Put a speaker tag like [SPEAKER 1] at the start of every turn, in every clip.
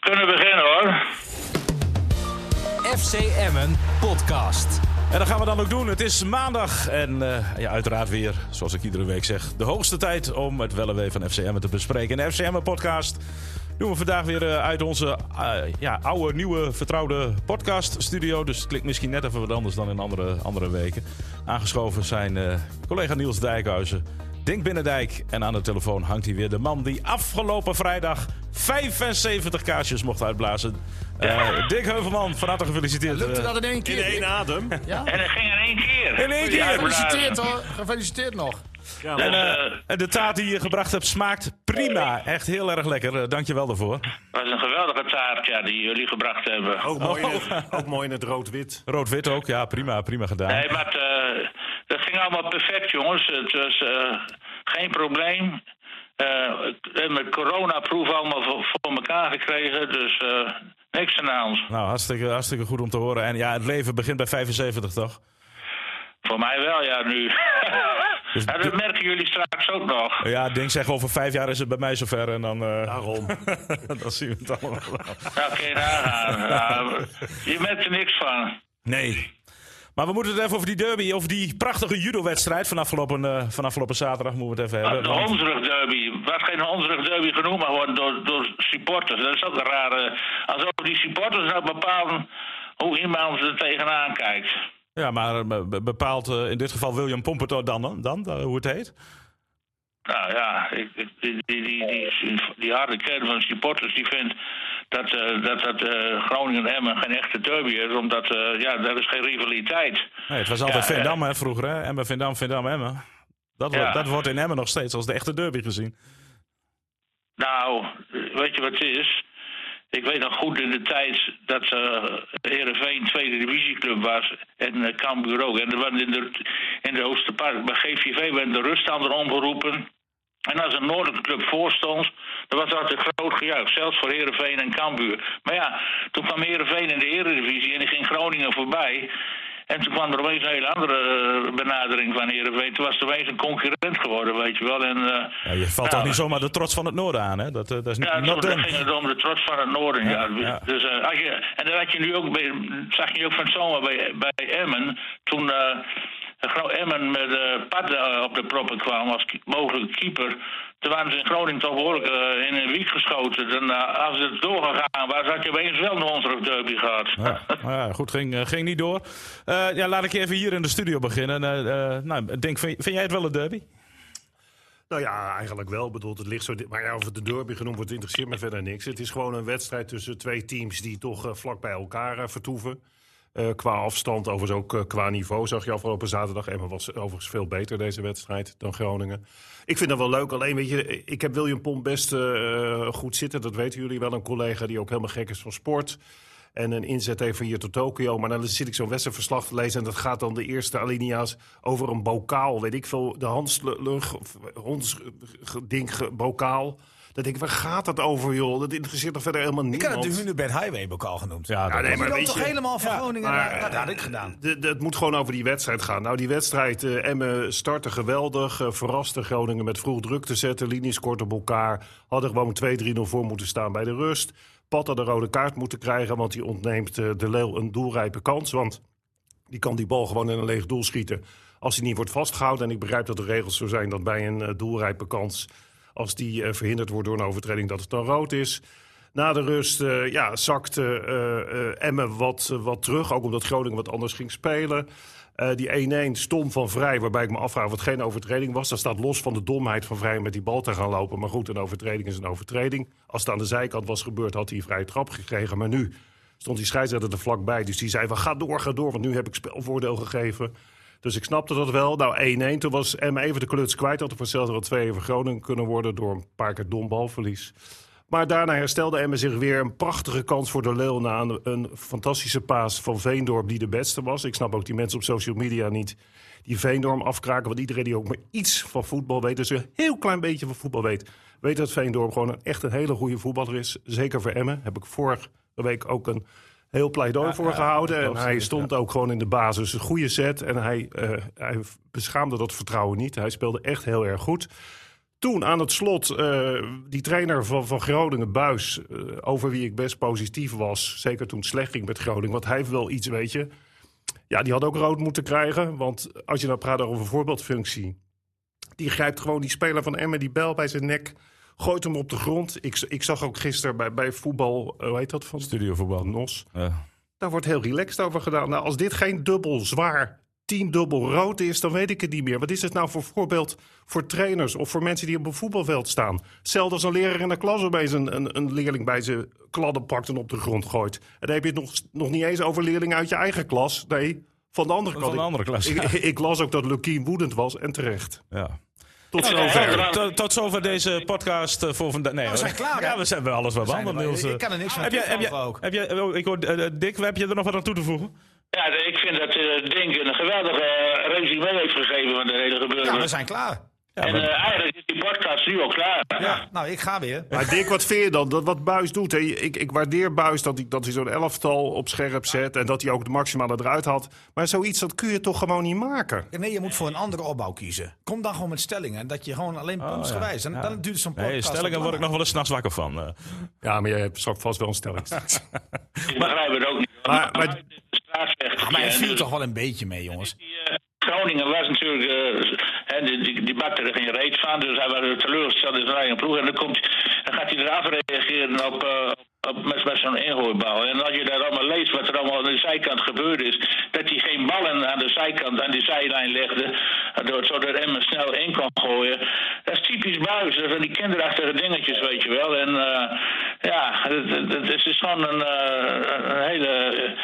[SPEAKER 1] kunnen beginnen hoor.
[SPEAKER 2] FC Emmen podcast.
[SPEAKER 3] En dat gaan we dan ook doen. Het is maandag en eh, ja, uiteraard weer, zoals ik iedere week zeg, de hoogste tijd om het wel en wee van FCM te bespreken. In de FCM podcast doen we vandaag weer eh, uit onze eh, ja, oude, nieuwe, vertrouwde podcaststudio. Dus het klinkt misschien net even wat anders dan in andere, andere weken. Aangeschoven zijn eh, collega Niels Dijkhuizen, Dink Binnendijk. En aan de telefoon hangt hij weer de man die afgelopen vrijdag 75 kaarsjes mocht uitblazen. Eh Dick Heuvelman, van harte gefeliciteerd.
[SPEAKER 4] Lukte
[SPEAKER 3] eh,
[SPEAKER 4] dat in één keer?
[SPEAKER 5] In één adem.
[SPEAKER 4] Ja,
[SPEAKER 1] En dat ging in één keer.
[SPEAKER 3] in één keer.
[SPEAKER 4] gefeliciteerd hoor. Gefeliciteerd nog.
[SPEAKER 5] Ja,
[SPEAKER 1] En,
[SPEAKER 5] maar
[SPEAKER 1] eh,
[SPEAKER 3] En de taart die je gebracht hebt smaakt prima. Echt heel erg lekker. Eh, Dankjewel daarvoor.
[SPEAKER 1] was een geweldige taart ja, die jullie gebracht hebben.
[SPEAKER 3] Oh.
[SPEAKER 5] ook, mooi in het, ook mooi in het rood-wit.
[SPEAKER 3] Rood-wit ook. Ja, prima. Prima gedaan.
[SPEAKER 1] Nee, maar het, eh, dat ging allemaal perfect, jongens. Het was eh, geen probleem. Eh, ik heb mijn coronaproef allemaal voor, voor elkaar gekregen, dus eh, niks aan de hand.
[SPEAKER 3] Nou, hartstikke, hartstikke goed om te horen. En ja, het leven begint bij 75, toch?
[SPEAKER 1] Voor mij wel, ja, nu.
[SPEAKER 3] Dus
[SPEAKER 1] Ja, dat
[SPEAKER 3] de-
[SPEAKER 1] merken jullie straks ook nog.
[SPEAKER 3] Ja, ik denk zeg over vijf jaar is het bij mij zover. En dan, eh,
[SPEAKER 5] Daarom.
[SPEAKER 3] dan zien we het allemaal. wel.
[SPEAKER 1] Nou, kun je nagaan. Nou, je merkt er niks van.
[SPEAKER 3] Nee. Maar we moeten het even over die derby, over die prachtige judo-wedstrijd van afgelopen, eh, van afgelopen zaterdag moeten we het even hebben.
[SPEAKER 1] Ah, De
[SPEAKER 3] Want-
[SPEAKER 1] Hondsrug Derby, wat geen Hondsrug Derby genoemd mag worden door, door supporters. Dat is ook een rare. Alsof die supporters nou bepalen hoe iemand er tegenaan kijkt.
[SPEAKER 3] ja, maar eh, be- bepaalt eh, in dit geval William Pomperto dan, dan, dan eh, hoe het heet.
[SPEAKER 1] Nou ja, ik, ik- die, die, die, die, die harde kern van supporters die vindt dat, eh, dat, dat eh, Groningen en Emmen geen echte derby is, omdat eh, ja, daar is geen rivaliteit.
[SPEAKER 3] Nee, het was altijd
[SPEAKER 1] Ja,
[SPEAKER 3] Vindam hè, vroeger, hè? Emmen, Vindam, Vindam, Emmen. Dat, wordt,
[SPEAKER 1] Ja.
[SPEAKER 3] dat wordt in Emmen nog steeds als de echte derby gezien.
[SPEAKER 1] Nou, weet je wat het is? Ik weet nog goed in de tijd dat eh Heerenveen tweede divisieclub was en eh, Cambuur ook. En er waren in de, in de Oosterpark bij GVV werd de ruststander omgeroepen. En als een noordelijke club voorstond, dan was dat een groot gejuich. Zelfs voor Heerenveen en Cambuur. Maar ja, toen kwam Heerenveen in de Eredivisie en die ging Groningen voorbij. En toen kwam er opeens een hele andere eh, benadering van Heerenveen. Toen was het opeens een concurrent geworden, weet je wel. En, eh,
[SPEAKER 3] Ja, je valt
[SPEAKER 1] nou,
[SPEAKER 3] toch niet zomaar de trots van het noorden aan, hè? Dat, eh, dat is niet
[SPEAKER 1] ja,
[SPEAKER 3] not
[SPEAKER 1] toen
[SPEAKER 3] done.
[SPEAKER 1] ging het om de trots van het noorden. Ja.
[SPEAKER 3] ja.
[SPEAKER 1] Dus, eh, als je, en dat had je nu ook bij, zag je ook van het zomer bij, bij Emmen. Toen eh, Gro- Emmen met eh Pad eh, op de proppen kwam als ki- mogelijke keeper. Toen waren ze in Groningen toch behoorlijk eh, in een wiek geschoten. Dan, eh, als het doorgegaan was, had je opeens wel een Hondsrug derby gehad.
[SPEAKER 3] Ja, nou ja, goed, ging, eh, ging niet door. Eh, ja, laat ik even hier in de studio beginnen. Eh, eh, nou, Denk, vind, vind jij het wel een derby?
[SPEAKER 5] Nou ja, eigenlijk wel. Ik Bedoel, het ligt zo, maar ja, of het de derby genoemd wordt, interesseert me verder niks. Het is gewoon een wedstrijd tussen twee teams die toch eh, vlak bij elkaar eh, vertoeven. Eh, qua afstand, overigens ook eh, qua niveau, zag je afgelopen zaterdag. Emma was overigens veel beter deze wedstrijd dan Groningen. Ik vind dat wel leuk. Alleen, weet je, ik heb William Pomp best eh, goed zitten. Dat weten jullie wel. Een collega die ook helemaal gek is van sport. En een inzet even hier tot Tokio. Maar dan zit ik zo'n wedstrijdverslag te lezen. En dat gaat dan de eerste alinea's over een bokaal. Weet ik veel, de Hanslug, of Hondsding, ge- bokaal. Dat denk ik, waar gaat dat over, joh? Dat interesseert toch verder helemaal
[SPEAKER 6] Ik had het
[SPEAKER 5] niemand.
[SPEAKER 6] de Hunebed Highway ook al genoemd.
[SPEAKER 3] Ja, dat-
[SPEAKER 5] nee,
[SPEAKER 6] Die
[SPEAKER 5] maar
[SPEAKER 6] loopt
[SPEAKER 5] weet
[SPEAKER 6] toch
[SPEAKER 5] je-
[SPEAKER 6] helemaal van Groningen
[SPEAKER 5] maar,
[SPEAKER 6] naar-
[SPEAKER 5] eh,
[SPEAKER 6] Dat had ik gedaan.
[SPEAKER 5] De- de- Het moet gewoon over die wedstrijd gaan. Nou, die wedstrijd, eh Emmen startte geweldig. eh, verraste Groningen met vroeg druk te zetten. Linies kort op elkaar. Hadden gewoon 2-3-0 voor moeten staan bij de rust. Pat had een rode kaart moeten krijgen, want die ontneemt eh, de Leeuw een doelrijpe kans. Want die kan die bal gewoon in een leeg doel schieten. Als hij niet wordt vastgehouden. En ik begrijp dat de regels zo zijn dat bij een eh, doelrijpe kans. als die eh, verhinderd wordt door een overtreding, dat het dan rood is. Na de rust eh, ja, zakte eh, eh, Emmen wat, eh, wat terug. Ook omdat Groningen wat anders ging spelen. Eh, die 1-1 stom van Vrij, waarbij ik me afvraag wat geen overtreding was. Dat staat los van de domheid van Vrij om met die bal te gaan lopen. Maar goed, een overtreding is een overtreding. Als het aan de zijkant was gebeurd, had hij een vrije trap gekregen. Maar nu stond die scheidsrechter er vlakbij. Dus die zei van ga door, ga door, want nu heb ik spelvoordeel gegeven. Dus ik snapte dat wel. Nou, 1-1. Toen was M even de kluts kwijt. Had er voor hetzelfde wel 2 even Groningen kunnen worden door een paar keer dom balverlies. Maar daarna herstelde Emmen zich weer. Een prachtige kans voor de Leeuw na een, een fantastische paas van Veendorp die de beste was. Ik snap ook die mensen op social media niet die Veendorp afkraken. Want iedereen die ook maar iets van voetbal weet, dus een heel klein beetje van voetbal weet... weet dat Veendorp gewoon een, echt een hele goede voetballer is. Zeker voor Emmen. Heb ik vorige week ook een heel pleidooi voor gehouden. En hij stond ook gewoon in de basis. Een goede set. En hij, eh, hij beschaamde dat vertrouwen niet. Hij speelde echt heel erg goed. Toen aan het slot eh, die trainer van, van Groningen, Buis, eh, over wie ik best positief was. Zeker toen het slecht ging met Groningen. Want hij heeft wel iets, weet je. Ja, die had ook rood moeten krijgen. Want als je nou praat over voorbeeldfunctie. Die grijpt gewoon die speler van Emmen, die bel bij zijn nek. Gooit hem op de grond. Ik, z- ik zag ook gisteren bij, bij voetbal, eh, hoe heet dat? Van
[SPEAKER 3] Studiovoetbal.
[SPEAKER 5] Nos.
[SPEAKER 3] Ja.
[SPEAKER 5] Daar wordt heel relaxed over gedaan. Nou, als dit geen dubbel zwaar, tien dubbel rood is, dan weet ik het niet meer. Wat is het nou voor voorbeeld voor trainers of voor mensen die op een voetbalveld staan? Zelfs als een leraar in de klas opeens een, een, een leerling bij zijn kladden pakt en op de grond gooit. En dan heb je het nog, nog niet eens over leerlingen uit je eigen klas. Nee, van de andere
[SPEAKER 3] Van
[SPEAKER 5] kant.
[SPEAKER 3] de andere klas,
[SPEAKER 5] Ik,
[SPEAKER 3] ja.
[SPEAKER 5] ik, ik las ook dat Lukien woedend was en terecht.
[SPEAKER 3] ja.
[SPEAKER 5] Tot
[SPEAKER 1] Ja, ja,
[SPEAKER 5] zover.
[SPEAKER 1] ja.
[SPEAKER 3] Tot, tot zover deze podcast eh, voor vandaag. Nee,
[SPEAKER 6] we zijn
[SPEAKER 3] hoor.
[SPEAKER 6] klaar, hè?
[SPEAKER 3] Ja, we zijn bij alles wel
[SPEAKER 6] zijn
[SPEAKER 3] behandeld,
[SPEAKER 6] er wel.
[SPEAKER 3] Niels. eh.
[SPEAKER 6] Ik kan er niks van
[SPEAKER 3] heb jij, heb jij,
[SPEAKER 6] toevoegen ook.
[SPEAKER 3] heb jij, oh, ik hoor, eh, eh, Dick, heb je er nog wat aan toe te voegen?
[SPEAKER 1] Ja, ik vind dat eh Dink een geweldige eh, resume heeft gegeven van de hele gebeuren.
[SPEAKER 6] Ja, Nou, we zijn klaar.
[SPEAKER 1] en eh, eigenlijk is die podcast nu al klaar.
[SPEAKER 6] Ja, nou, ik ga weer.
[SPEAKER 5] Maar Dick, wat vind je dan? Dat wat Buis doet. Hè? Ik, ik waardeer Buis dat hij, dat hij zo'n elftal op scherp zet. En dat hij ook het maximale eruit had. Maar zoiets, dat kun je toch gewoon niet maken?
[SPEAKER 6] Nee, je moet voor een andere opbouw kiezen. Kom dan gewoon met stellingen. Dat je gewoon alleen puntsgewijs. En
[SPEAKER 3] Oh, ja.
[SPEAKER 6] dan duurt zo'n podcast.
[SPEAKER 3] Nee, stellingen
[SPEAKER 6] ook
[SPEAKER 3] word ik nog
[SPEAKER 6] langer.
[SPEAKER 3] wel eens 's nachts wakker van. eh.
[SPEAKER 5] Ja, maar jij hebt straks vast wel een stelling.
[SPEAKER 1] Ik begrijp het ook niet.
[SPEAKER 5] Maar- maar-
[SPEAKER 1] buiten de straat zegt
[SPEAKER 6] Maar
[SPEAKER 1] hij,
[SPEAKER 6] het
[SPEAKER 1] hè,
[SPEAKER 6] viel
[SPEAKER 1] dus
[SPEAKER 6] toch wel een beetje mee, jongens.
[SPEAKER 1] die, eh, Groningen was natuurlijk, eh, hè, die, die, die bakte er geen reet van, dus hij was teleurgesteld in zijn eigen ploeg. En dan, komt, dan gaat hij eraf reageren op, eh, op, met, met zo'n ingooibal. En als je daar allemaal leest wat er allemaal aan de zijkant gebeurd is, dat hij geen ballen aan de zijkant, aan die zijlijn legde, door, zodat Emmen snel in kon gooien. Dat is typisch buis, dat zijn die kinderachtige dingetjes, weet je wel. En eh, ja, het, het- het is gewoon een, eh, een hele... eh,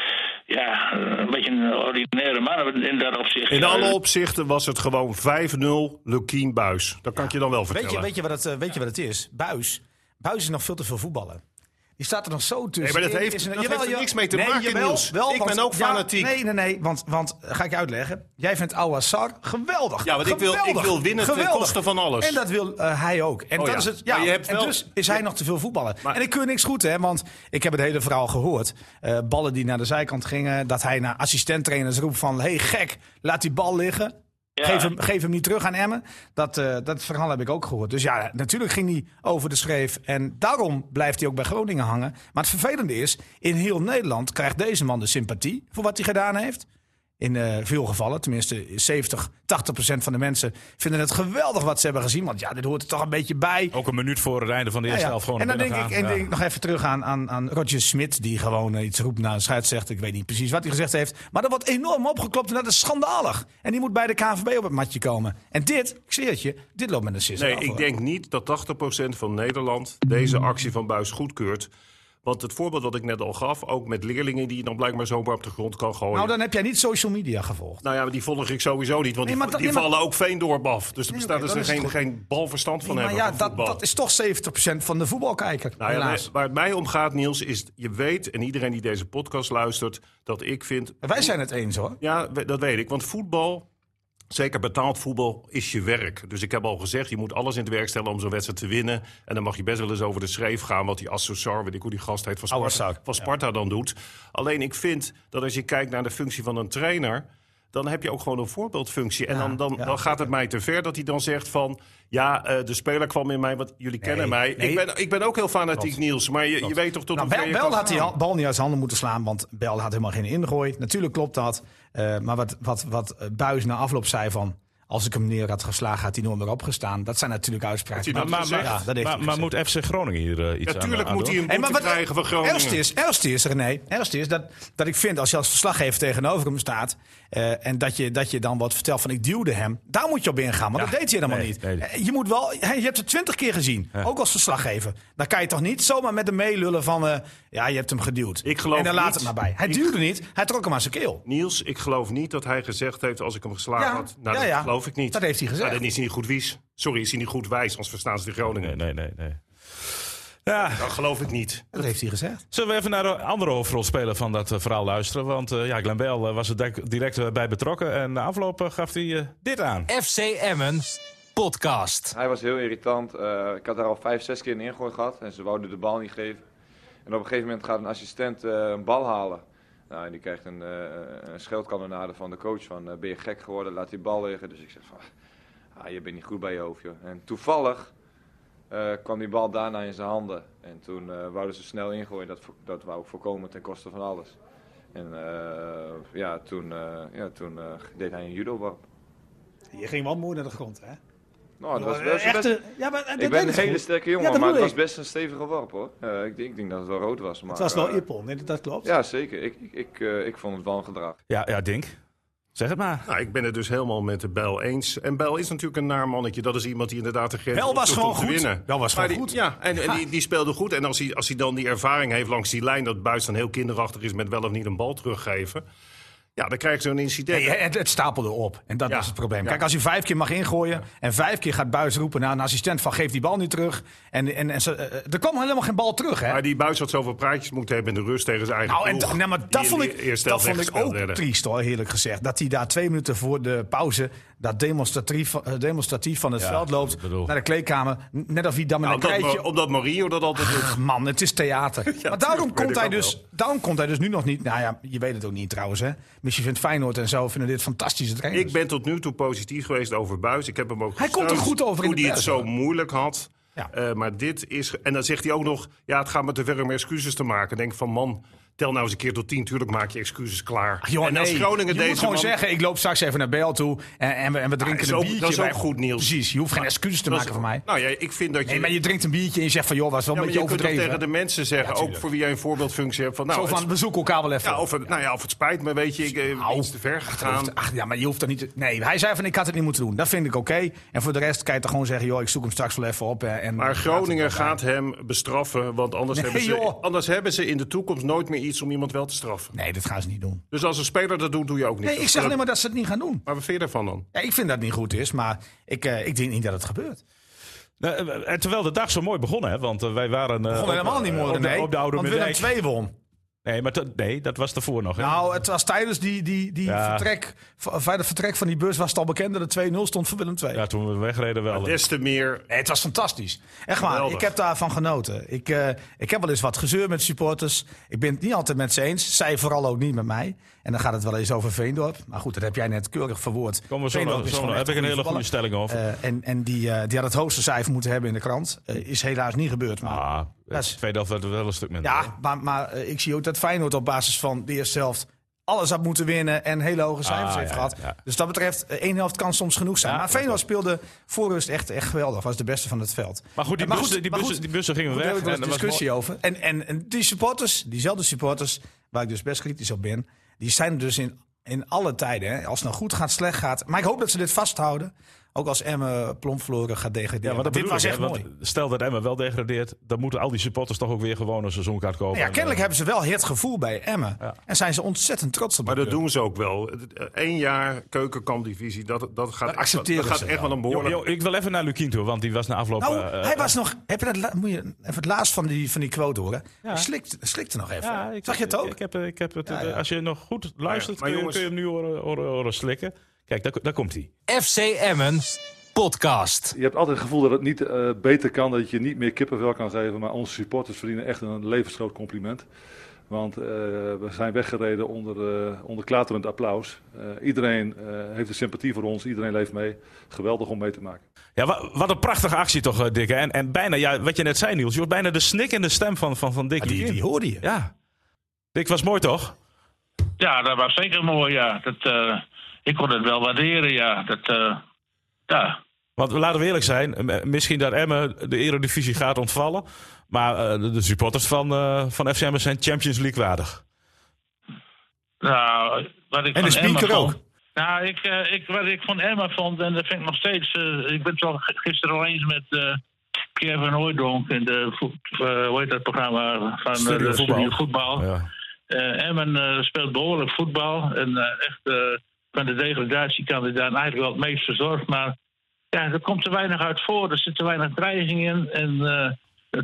[SPEAKER 1] ja, een beetje een ordinaire man in dat opzicht.
[SPEAKER 5] In alle opzichten was het gewoon 5-0 Lukien Buis. Dat kan ik je dan wel vertellen.
[SPEAKER 6] Weet je, weet, je wat het, eh, weet je wat het is? Buis. Buis is nog veel te veel voetballen. Die staat er nog zo tussen.
[SPEAKER 5] Nee, maar dat heeft-
[SPEAKER 6] Is
[SPEAKER 5] dat heeft er niks mee te maken, Niels. Ik ben ook fanatiek.
[SPEAKER 6] nee, nee, nee. Want, want eh, ga ik je uitleggen. Jij vindt Awassar geweldig.
[SPEAKER 7] Ja, want ik wil- ik
[SPEAKER 6] Geweldig.
[SPEAKER 7] wil winnen ten
[SPEAKER 6] Geweldig.
[SPEAKER 7] koste van alles.
[SPEAKER 6] En dat wil eh, hij ook. En
[SPEAKER 7] Oh
[SPEAKER 6] dat
[SPEAKER 7] ja.
[SPEAKER 6] is het. Ja,
[SPEAKER 7] Maar je hebt
[SPEAKER 6] en
[SPEAKER 7] wel-
[SPEAKER 6] dus is hij nog te veel voetballen.
[SPEAKER 7] Maar-
[SPEAKER 6] en ik keur niks goed, hè. Want ik heb het hele verhaal gehoord. Eh, ballen die naar de zijkant gingen. Dat hij naar assistenttrainers roept van... hey, gek, laat die bal liggen. Geef, hem, geef hem niet terug aan Emmen. Dat, eh, dat verhaal heb ik ook gehoord. Dus ja, natuurlijk ging hij over de schreef. En daarom blijft hij ook bij Groningen hangen. Maar het vervelende is, in heel Nederland krijgt deze man de sympathie voor wat hij gedaan heeft. In eh, veel gevallen, tenminste 70, 80 procent van de mensen vinden het geweldig wat ze hebben gezien. Want ja, dit hoort er toch een beetje bij.
[SPEAKER 3] Ook een minuut voor het einde van de
[SPEAKER 6] Ja,
[SPEAKER 3] eerste
[SPEAKER 6] Ah,
[SPEAKER 3] helft
[SPEAKER 6] ja.
[SPEAKER 3] gewoon
[SPEAKER 6] En dan
[SPEAKER 3] naar
[SPEAKER 6] denk ik,
[SPEAKER 3] binnen
[SPEAKER 6] en
[SPEAKER 3] gaan.
[SPEAKER 6] denk ik nog even terug aan, aan, aan Roger Smit, die gewoon eh, iets roept naar een scheidsrechter. Ik weet niet precies wat hij gezegd heeft. Maar dat wordt enorm opgeklopt en dat is schandalig. En die moet bij de KNVB op het matje komen. En dit, ik zweer het je, dit loopt met een sisser.
[SPEAKER 5] Nee, ik denk niet dat 80% van Nederland deze actie van Buis goedkeurt. Want het voorbeeld wat ik net al gaf, ook met leerlingen die je dan blijkbaar zomaar op de grond kan gooien.
[SPEAKER 6] Nou, dan heb jij niet social media gevolgd.
[SPEAKER 5] Nou ja, maar die volg ik sowieso niet, want
[SPEAKER 6] Nee,
[SPEAKER 5] die,
[SPEAKER 6] maar dat-
[SPEAKER 5] die
[SPEAKER 6] nee, maar-
[SPEAKER 5] vallen ook Veendorp af. Dus er
[SPEAKER 6] Nee,
[SPEAKER 5] bestaat
[SPEAKER 6] oké, dan
[SPEAKER 5] dus
[SPEAKER 6] is
[SPEAKER 5] geen,
[SPEAKER 6] het
[SPEAKER 5] geen balverstand van
[SPEAKER 6] maar
[SPEAKER 5] hebben
[SPEAKER 6] ja,
[SPEAKER 5] van
[SPEAKER 6] dat,
[SPEAKER 5] voetbal.
[SPEAKER 6] dat is toch 70% van de voetbalkijker.
[SPEAKER 5] Nou ja,
[SPEAKER 6] helaas.
[SPEAKER 5] waar het mij om gaat, Niels, is je weet, en iedereen die deze podcast luistert, dat ik vind...
[SPEAKER 6] En Wij zijn het eens hoor.
[SPEAKER 5] Ja, we- dat weet ik. Want voetbal, zeker betaald voetbal, is je werk. Dus ik heb al gezegd, je moet alles in het werk stellen om zo'n wedstrijd te winnen. En dan mag je best wel eens over de schreef gaan. Wat die Assessor, weet ik hoe die gast heet, van Sparta,
[SPEAKER 6] Assar,
[SPEAKER 5] van Sparta dan doet. Alleen ik vind dat als je kijkt naar de functie van een trainer... dan heb je ook gewoon een voorbeeldfunctie. En dan, dan,
[SPEAKER 6] ja,
[SPEAKER 5] dan gaat het mij te ver dat hij dan zegt van... ja, eh, de speler kwam in mij, want jullie kennen mij.
[SPEAKER 6] nee.
[SPEAKER 5] Ik, ben, ik ben ook heel fanatiek, Niels. Maar je, je weet toch tot
[SPEAKER 6] Nou,
[SPEAKER 5] hoe
[SPEAKER 6] Bel,
[SPEAKER 5] ver je
[SPEAKER 6] Bel
[SPEAKER 5] kan
[SPEAKER 6] had die
[SPEAKER 5] gaan.
[SPEAKER 6] ha- bal niet uit zijn handen moeten slaan, want Bel had helemaal geen ingooi. Natuurlijk klopt dat. eh, maar wat, wat, wat eh, Buis na afloop zei van... als ik hem neer had geslagen, had hij nooit meer opgestaan. Dat zijn natuurlijk
[SPEAKER 5] Had
[SPEAKER 6] uitspraken.
[SPEAKER 5] hij dat
[SPEAKER 6] Maar- maar-
[SPEAKER 5] gezegd?
[SPEAKER 6] ja, dat heeft
[SPEAKER 3] maar
[SPEAKER 6] eh. hij
[SPEAKER 3] maar
[SPEAKER 6] gezegd.
[SPEAKER 3] moet FC Groningen hier eh, iets aan
[SPEAKER 5] Natuurlijk
[SPEAKER 3] aan
[SPEAKER 5] moet
[SPEAKER 3] doen?
[SPEAKER 5] hij een boete
[SPEAKER 6] Hey, nou, maar wat-
[SPEAKER 5] krijgen van Groningen.
[SPEAKER 6] Ergst is, ergst is, René, ergst is dat, dat ik vind als je als verslaggever tegenover hem staat... eh, en dat je, dat je dan wat vertelt van ik duwde hem, daar moet je op ingaan. Want dat deed hij helemaal
[SPEAKER 3] nee,
[SPEAKER 6] niet.
[SPEAKER 3] nee.
[SPEAKER 6] Eh, Je, moet wel, hè, je hebt het twintig keer gezien, ook als verslaggever. Dan kan je toch niet zomaar met hem meelullen van... eh, ja, je hebt hem geduwd.
[SPEAKER 5] Ik geloof
[SPEAKER 6] en dan laat
[SPEAKER 5] niet.
[SPEAKER 6] het maar bij. Hij
[SPEAKER 5] Ik-
[SPEAKER 6] duwde niet, hij trok hem aan zijn keel.
[SPEAKER 5] Niels, ik geloof niet dat hij gezegd heeft als ik hem geslagen
[SPEAKER 6] Ja,
[SPEAKER 5] had. Nou,
[SPEAKER 6] ja,
[SPEAKER 5] dat
[SPEAKER 6] ja.
[SPEAKER 5] geloof ik niet.
[SPEAKER 6] Dat heeft hij gezegd.
[SPEAKER 5] Nou, dan is hij niet goed wies. Sorry, is hij niet goed wijs, anders verstaan ze de Groningen.
[SPEAKER 3] Nee, nee, nee. nee. Ja,
[SPEAKER 5] Dat geloof ik niet.
[SPEAKER 6] Dat heeft hij gezegd.
[SPEAKER 3] Zullen we even naar de andere hoofdrolspeler van dat eh, verhaal luisteren? Want eh, ja, Glenn Bell eh, was er dik- direct eh, bij betrokken. En na afloop eh, gaf hij eh, dit aan.
[SPEAKER 2] FC Emmen podcast.
[SPEAKER 8] Hij was heel irritant. Eh, ik had daar al vijf, zes keer een ingooi gehad en ze wouden de bal niet geven. En op een gegeven moment gaat een assistent eh, een bal halen. Nou, en die krijgt een, eh een scheldkanonade van de coach van eh, ben je gek geworden, laat die bal liggen. Dus ik zeg van, ah, je bent niet goed bij je hoofd. Joh. En toevallig eh, kwam die bal daarna in zijn handen. En toen eh, wouden ze snel ingooien. Dat, vo- dat wou ik voorkomen ten koste van alles. En eh, ja, toen, eh, ja, toen eh, deed hij een judo-wap.
[SPEAKER 6] Je ging wel mooi naar de grond, hè?
[SPEAKER 8] Nou, dat was, dat was best,
[SPEAKER 6] Echte, ja, maar, dat
[SPEAKER 8] ik
[SPEAKER 6] deed
[SPEAKER 8] ben een
[SPEAKER 6] het
[SPEAKER 8] hele
[SPEAKER 6] goed.
[SPEAKER 8] sterke
[SPEAKER 6] Ja,
[SPEAKER 8] jongen,
[SPEAKER 6] dat
[SPEAKER 8] maar het
[SPEAKER 6] bedoel
[SPEAKER 8] was
[SPEAKER 6] ik.
[SPEAKER 8] best een stevige worp hoor. Eh, ik, denk- ik denk dat het wel rood was. Maar,
[SPEAKER 6] Het was wel
[SPEAKER 8] eh,
[SPEAKER 6] Ippon, nee, dat klopt.
[SPEAKER 8] Ja, zeker. Ik, ik, ik, eh, ik vond het wel een gedrag.
[SPEAKER 3] Ja, ja, Dink. Zeg het maar.
[SPEAKER 5] Nou, ik ben het dus helemaal met de Bijl eens. En Bijl is natuurlijk een naar mannetje. Dat is iemand die inderdaad de grens
[SPEAKER 6] Bijl was
[SPEAKER 5] opzoekt om
[SPEAKER 6] gewoon
[SPEAKER 5] te
[SPEAKER 6] goed.
[SPEAKER 5] winnen.
[SPEAKER 6] Bijl was
[SPEAKER 5] Maar
[SPEAKER 6] gewoon
[SPEAKER 5] die- Ja, en, en die, die speelde goed. En als hij, als hij dan die ervaring heeft langs die lijn... dat Buis dan heel kinderachtig is met wel of niet een bal teruggeven... ja, dan krijg je zo'n incident.
[SPEAKER 6] Nee, het, het stapelde op. En dat
[SPEAKER 5] Ja.
[SPEAKER 6] was het probleem. Kijk, als je vijf keer mag ingooien en vijf keer gaat buis roepen naar een assistent van geef die bal niet terug. En, en, en ze, eh, er kwam helemaal geen bal terug, hè?
[SPEAKER 5] Maar die Buis had zoveel praatjes moeten hebben in de rust tegen zijn eigen
[SPEAKER 6] Nou, en
[SPEAKER 5] ploeg,
[SPEAKER 6] da- nee, maar
[SPEAKER 5] die
[SPEAKER 6] dat
[SPEAKER 5] in
[SPEAKER 6] vond
[SPEAKER 5] de
[SPEAKER 6] ik,
[SPEAKER 5] eerste
[SPEAKER 6] dat
[SPEAKER 5] helft
[SPEAKER 6] vond ik
[SPEAKER 5] weggespeeld
[SPEAKER 6] ook
[SPEAKER 5] werden.
[SPEAKER 6] triest hoor, eerlijk gezegd. Dat hij daar twee minuten voor de pauze dat demonstratief, eh, demonstratief van het
[SPEAKER 3] Ja,
[SPEAKER 6] veld
[SPEAKER 3] ik
[SPEAKER 6] loopt
[SPEAKER 3] bedoel-
[SPEAKER 6] naar de kleedkamer. N- Net of hij dan met
[SPEAKER 5] Nou,
[SPEAKER 6] een
[SPEAKER 5] omdat,
[SPEAKER 6] krijtje...
[SPEAKER 5] Ma- omdat Mourinho dat altijd doet.
[SPEAKER 6] Ach, man, het is theater. maar daarom
[SPEAKER 5] tuurlijk, weet
[SPEAKER 6] komt,
[SPEAKER 5] ik
[SPEAKER 6] hij
[SPEAKER 5] ook
[SPEAKER 6] dus, daarom komt hij dus nu nog niet... Nou ja, je weet het ook niet trouwens, hè. Misschien vindt Feyenoord en zo vinden dit fantastische trainers.
[SPEAKER 5] Ik ben tot nu toe positief geweest over Buis. Ik heb hem ook
[SPEAKER 6] Hij komt er
[SPEAKER 5] gesteund,
[SPEAKER 6] goed over in
[SPEAKER 5] Hoe
[SPEAKER 6] de
[SPEAKER 5] hij het zo
[SPEAKER 6] pers, hoor.
[SPEAKER 5] moeilijk had.
[SPEAKER 6] Ja.
[SPEAKER 5] Eh, maar dit is... En dan zegt hij ook nog... Ja, het gaat me te ver om excuses te maken. Ik Denk van, man, tel nou eens een keer tot tien. Tuurlijk maak je excuses klaar.
[SPEAKER 6] Ach, Ah, joh,
[SPEAKER 5] Ah, en als
[SPEAKER 6] nee.
[SPEAKER 5] Groningen
[SPEAKER 6] je
[SPEAKER 5] deze
[SPEAKER 6] moet gewoon
[SPEAKER 5] man- Ah,
[SPEAKER 6] zeggen, ik loop straks even naar Bel toe en, en, we, en we drinken
[SPEAKER 5] is
[SPEAKER 6] een
[SPEAKER 5] ook-
[SPEAKER 6] biertje.
[SPEAKER 5] dat is ook
[SPEAKER 6] Wij-
[SPEAKER 5] goed, Niels.
[SPEAKER 6] Precies, je hoeft geen excuses te
[SPEAKER 5] Dat is-
[SPEAKER 6] maken van mij.
[SPEAKER 5] Nou ja, ik vind dat je...
[SPEAKER 6] Nee, maar je drinkt een biertje en je zegt van, joh, was wel
[SPEAKER 5] ja, maar
[SPEAKER 6] een beetje
[SPEAKER 5] je kunt toch
[SPEAKER 6] overdreven.
[SPEAKER 5] tegen de mensen zeggen, ook voor wie jij een voorbeeldfunctie hebt. Van, nou,
[SPEAKER 6] Zo
[SPEAKER 5] het-
[SPEAKER 6] van, we zoeken elkaar wel even.
[SPEAKER 5] ja, of, het, nou ja, of het spijt me, weet je, ik eh,
[SPEAKER 6] Nou,
[SPEAKER 5] iets te ver
[SPEAKER 6] Dat
[SPEAKER 5] gegaan.
[SPEAKER 6] hoeft- ach, ja, maar je hoeft dat niet. te- Nee, hij zei van ik had het niet moeten doen. Dat vind ik oké. En voor de rest kan je toch gewoon zeggen, joh, ik zoek hem straks wel even op. eh, En
[SPEAKER 5] Maar Groningen gaat hem bestraffen, want anders,
[SPEAKER 6] Nee,
[SPEAKER 5] hebben ze,
[SPEAKER 6] joh.
[SPEAKER 5] anders hebben ze in de toekomst nooit meer iets om iemand wel te straffen.
[SPEAKER 6] Nee, dat gaan ze niet doen.
[SPEAKER 5] Dus als een speler dat doet, doe je ook niet.
[SPEAKER 6] Nee, ik zeg alleen maar dat ze het niet gaan doen.
[SPEAKER 5] Maar wat vind je daarvan dan?
[SPEAKER 6] Ja, ik vind dat het niet goed is, maar ik, eh, ik denk niet dat het gebeurt.
[SPEAKER 3] Nou, eh, en terwijl de dag zo mooi begon, hè? Want eh, wij waren. eh,
[SPEAKER 6] Gewoon
[SPEAKER 3] op,
[SPEAKER 6] helemaal niet
[SPEAKER 3] eh,
[SPEAKER 6] mooi,
[SPEAKER 3] op de,
[SPEAKER 6] nee.
[SPEAKER 3] op de Oude
[SPEAKER 6] want Willem
[SPEAKER 3] Middijk.
[SPEAKER 6] 2 won.
[SPEAKER 3] Nee, maar dat- nee, dat was daarvoor nog. Hè?
[SPEAKER 6] Nou, het was tijdens die, die, die
[SPEAKER 3] Ja.
[SPEAKER 6] vertrek, v- bij de vertrek van die bus was het al bekend dat het 2-0 stond voor Willem 2.
[SPEAKER 3] ja, toen we wegreden wel.
[SPEAKER 5] Des te meer.
[SPEAKER 6] Nee, het was fantastisch. Echt waar,
[SPEAKER 5] Geweldig.
[SPEAKER 6] ik heb daarvan genoten. Ik, eh, ik heb wel eens wat gezeur met supporters. Ik ben het niet altijd met ze eens. Zij vooral ook niet met mij. En dan gaat het wel eens over Veendorp. Maar goed, dat heb jij net keurig verwoord.
[SPEAKER 3] Kom maar zo,
[SPEAKER 6] Veendorp
[SPEAKER 3] nog-
[SPEAKER 6] is
[SPEAKER 3] zo
[SPEAKER 6] gewoon
[SPEAKER 3] nog.
[SPEAKER 6] echt
[SPEAKER 3] heb ik een hele goede
[SPEAKER 6] voetballer.
[SPEAKER 3] stelling over.
[SPEAKER 6] Eh, en en die, eh, die had het hoogste cijfer moeten hebben in de krant. Eh, is helaas niet gebeurd. Maar,
[SPEAKER 3] ah,
[SPEAKER 6] Eh, dat
[SPEAKER 3] het
[SPEAKER 6] is-
[SPEAKER 3] tweede helft werd wel een stuk minder.
[SPEAKER 6] ja, maar, maar eh, ik zie ook dat Feyenoord op basis van de eerste helft alles had moeten winnen en hele hoge cijfers
[SPEAKER 3] Ah,
[SPEAKER 6] heeft
[SPEAKER 3] ja,
[SPEAKER 6] gehad.
[SPEAKER 3] ja, ja.
[SPEAKER 6] Dus dat betreft, eh, één helft kan soms genoeg zijn.
[SPEAKER 3] Ja,
[SPEAKER 6] maar
[SPEAKER 3] dat
[SPEAKER 6] Feyenoord speelde voor rust echt, echt geweldig. Was de beste van het veld.
[SPEAKER 3] Maar goed, die,
[SPEAKER 6] Eh, maar
[SPEAKER 3] bussen,
[SPEAKER 6] goed,
[SPEAKER 3] die,
[SPEAKER 6] maar
[SPEAKER 3] bussen,
[SPEAKER 6] goed,
[SPEAKER 3] die bussen gingen
[SPEAKER 6] daar
[SPEAKER 3] weg.
[SPEAKER 6] hebben we
[SPEAKER 3] en
[SPEAKER 6] wel
[SPEAKER 3] dat
[SPEAKER 6] eens
[SPEAKER 3] was
[SPEAKER 6] discussie over. En, en, en die supporters, diezelfde supporters, waar ik dus best kritisch op ben, die zijn er dus in, in alle tijden. Hè. Als het nou goed gaat, slecht gaat. Maar ik hoop dat ze dit vasthouden. Ook als Emme Plomfloren gaat
[SPEAKER 3] Ja,
[SPEAKER 6] degraderen.
[SPEAKER 3] maar dat
[SPEAKER 6] dit
[SPEAKER 3] bedoel
[SPEAKER 6] was
[SPEAKER 3] ik,
[SPEAKER 6] echt
[SPEAKER 3] hè, want
[SPEAKER 6] mooi.
[SPEAKER 3] Stel dat Emmen wel degradeert, dan moeten al die supporters toch ook weer gewoon een seizoenkaart kopen.
[SPEAKER 6] Nou Ja,
[SPEAKER 3] En,
[SPEAKER 6] kennelijk
[SPEAKER 3] eh,
[SPEAKER 6] hebben ze wel het gevoel bij Emmen. En zijn ze ontzettend trots op
[SPEAKER 5] Maar
[SPEAKER 6] de
[SPEAKER 5] dat doen ze ook wel. Eén jaar keukenkampdivisie, dat, dat gaat,
[SPEAKER 6] Dat accepteren
[SPEAKER 5] dat gaat
[SPEAKER 6] ze
[SPEAKER 5] echt wel een
[SPEAKER 3] joh,
[SPEAKER 5] behoorlijk...
[SPEAKER 3] joh, ik wil even naar Lukien toe, want die was na afloop.
[SPEAKER 6] Nou,
[SPEAKER 3] eh, eh,
[SPEAKER 6] hij was nog. Heb je dat, la- moet je even het laatst van die, van die quote horen?
[SPEAKER 3] Ja.
[SPEAKER 6] Hij slikt, slikte nog even.
[SPEAKER 3] Ja, ik-
[SPEAKER 6] Zag je het ook?
[SPEAKER 3] Ik, heb, eh, ik heb het,
[SPEAKER 6] Ja, ja.
[SPEAKER 3] Als je nog goed luistert,
[SPEAKER 5] Maar
[SPEAKER 3] kun, je,
[SPEAKER 5] jongens-
[SPEAKER 3] kun je hem nu horen, horen, horen slikken. Kijk, daar, daar komt hij.
[SPEAKER 2] FC Emmen podcast.
[SPEAKER 7] Je hebt altijd het gevoel dat het niet eh, beter kan, dat je niet meer kippenvel kan geven. Maar onze supporters verdienen echt een levensgroot compliment. Want eh, we zijn weggereden onder, eh, onder klaterend applaus. Eh, iedereen eh, heeft een sympathie voor ons, iedereen leeft mee. Geweldig om mee te maken.
[SPEAKER 3] Ja, wa- wat een prachtige actie toch, eh, Dick. hè? En, en bijna, ja, wat je net zei, Niels. Je hoort bijna de snikkende stem van, van, van Dick.
[SPEAKER 6] Ja, Ah, die,
[SPEAKER 3] Lukien.
[SPEAKER 6] die hoorde je.
[SPEAKER 3] Ja. Dick, was mooi toch?
[SPEAKER 1] Ja, dat was zeker mooi, ja. Dat, eh, ik kon het wel waarderen, ja. Dat, eh, ja.
[SPEAKER 3] Want laten we eerlijk zijn, eh, misschien dat Emmen de Eredivisie gaat ontvallen. Maar eh, de- de supporters van, eh van FC Emmen zijn Champions League waardig.
[SPEAKER 1] Nou, wat ik
[SPEAKER 6] En de
[SPEAKER 1] van Emma
[SPEAKER 6] speaker
[SPEAKER 1] vond-
[SPEAKER 6] ook.
[SPEAKER 1] Nou, ik, eh, ik, wat ik van Emma vond, en dat vind ik nog steeds... eh, ik ben het wel g- gisteren al eens met eh, Pierre van Hooijdonk in de, voet- eh, hoe heet dat programma? Van eh,
[SPEAKER 3] Studio
[SPEAKER 1] de
[SPEAKER 3] Voetbal.
[SPEAKER 1] Studio Voetbal.
[SPEAKER 3] Ja.
[SPEAKER 1] Eh, Emmen eh, speelt behoorlijk voetbal. En eh, echt eh, van de degradatiekandidaat eigenlijk wel het meest verzorgd. Maar ja, er komt te weinig uit voor. Er zit te weinig dreiging in. En eh,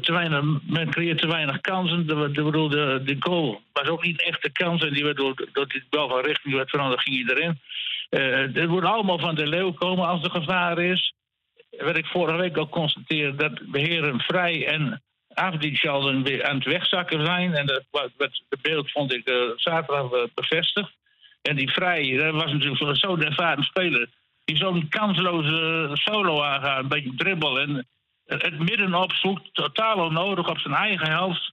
[SPEAKER 1] te weinig, men creëert te weinig kansen. De, de, bedoel, de, de goal was ook niet echt de kans. En die werd door, door die bal van richting werd veranderd, ging hij erin. Eh, het moet allemaal van de leeuw komen als er gevaar is. Wat ik vorige week al constateerde, dat de heren Vrij en Afdichalden weer aan het wegzakken zijn. En dat wa- wat het beeld vond ik eh, zaterdag eh, bevestigd. En die Vrij, dat was natuurlijk zo- zo'n ervaren speler. Die die zo'n kansloze eh, solo aangaat, een beetje dribbel en het midden opzoekt, totaal onnodig op zijn eigen helft.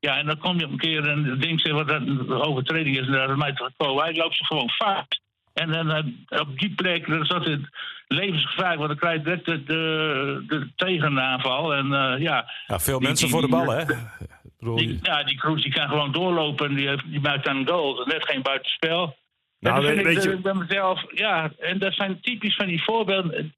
[SPEAKER 1] Ja, en dan kom je een keer en het ding zegt wat dat een overtreding is, en dat is mij te komen. Hij loopt ze gewoon vast. En dan eh, op die plek, dan zat het levensgevaarlijk, want dan krijg je direct de, de, de tegenaanval. En eh, ja,
[SPEAKER 3] Ja, veel
[SPEAKER 1] Die-
[SPEAKER 3] mensen
[SPEAKER 1] die-
[SPEAKER 3] voor de bal,
[SPEAKER 1] die-
[SPEAKER 3] hè? Ik bedoel,
[SPEAKER 1] die, ja, die Kroes die kan gewoon doorlopen en die, heeft, die maakt dan een goal. Net geen buitenspel.
[SPEAKER 5] Nou,
[SPEAKER 1] Nou,
[SPEAKER 5] weet-
[SPEAKER 1] dat vind
[SPEAKER 5] weet
[SPEAKER 1] ik
[SPEAKER 5] je-
[SPEAKER 1] eh, bij mezelf, ja, en dat zijn typisch van die voorbeelden.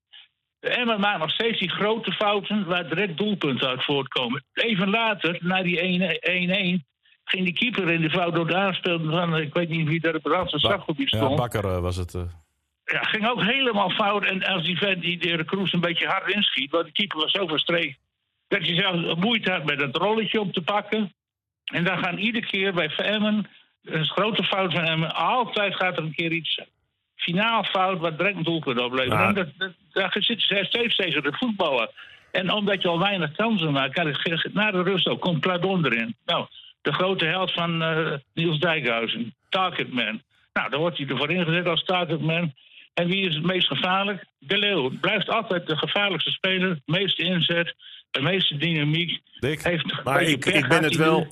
[SPEAKER 1] Emmen maakt nog steeds die grote fouten waar direct doelpunten uit voortkomen. Even later, na die 1-1, ging die keeper in de fout door de aanspeelde van, eh, ik weet niet wie daar op het randse
[SPEAKER 3] Ba-
[SPEAKER 1] strafgebied
[SPEAKER 3] ja,
[SPEAKER 1] stond.
[SPEAKER 3] Bakker eh, was het. eh.
[SPEAKER 1] Ja, ging ook helemaal fout. En als die vent die de Kroes een beetje hard inschiet, want de keeper was zo verstreekt, dat je zelf moeite had met dat rolletje op te pakken. En dan gaan iedere keer bij Emmen, een grote fout van Emmen, altijd gaat er een keer iets finaal fout wat direct een doelpunt oplevert.
[SPEAKER 5] Ja.
[SPEAKER 1] En dat, dat, daar zitten ze steeds tegen de voetballen. En omdat je al weinig kansen maakt, kan het ge- na de rust ook, komt Pladon erin. Nou, de grote held van eh, Niels Dijkhuizen, Targetman. Nou, daar wordt hij ervoor ingezet als Targetman. En wie is het meest gevaarlijk? De Leeuw. Blijft altijd de gevaarlijkste speler, meeste inzet, de meeste dynamiek.
[SPEAKER 3] Dick?
[SPEAKER 1] Heeft een
[SPEAKER 5] Maar
[SPEAKER 1] beetje
[SPEAKER 5] ik,
[SPEAKER 1] pech,
[SPEAKER 5] ik
[SPEAKER 1] had
[SPEAKER 5] ben het
[SPEAKER 1] hij
[SPEAKER 5] wel.
[SPEAKER 1] nu.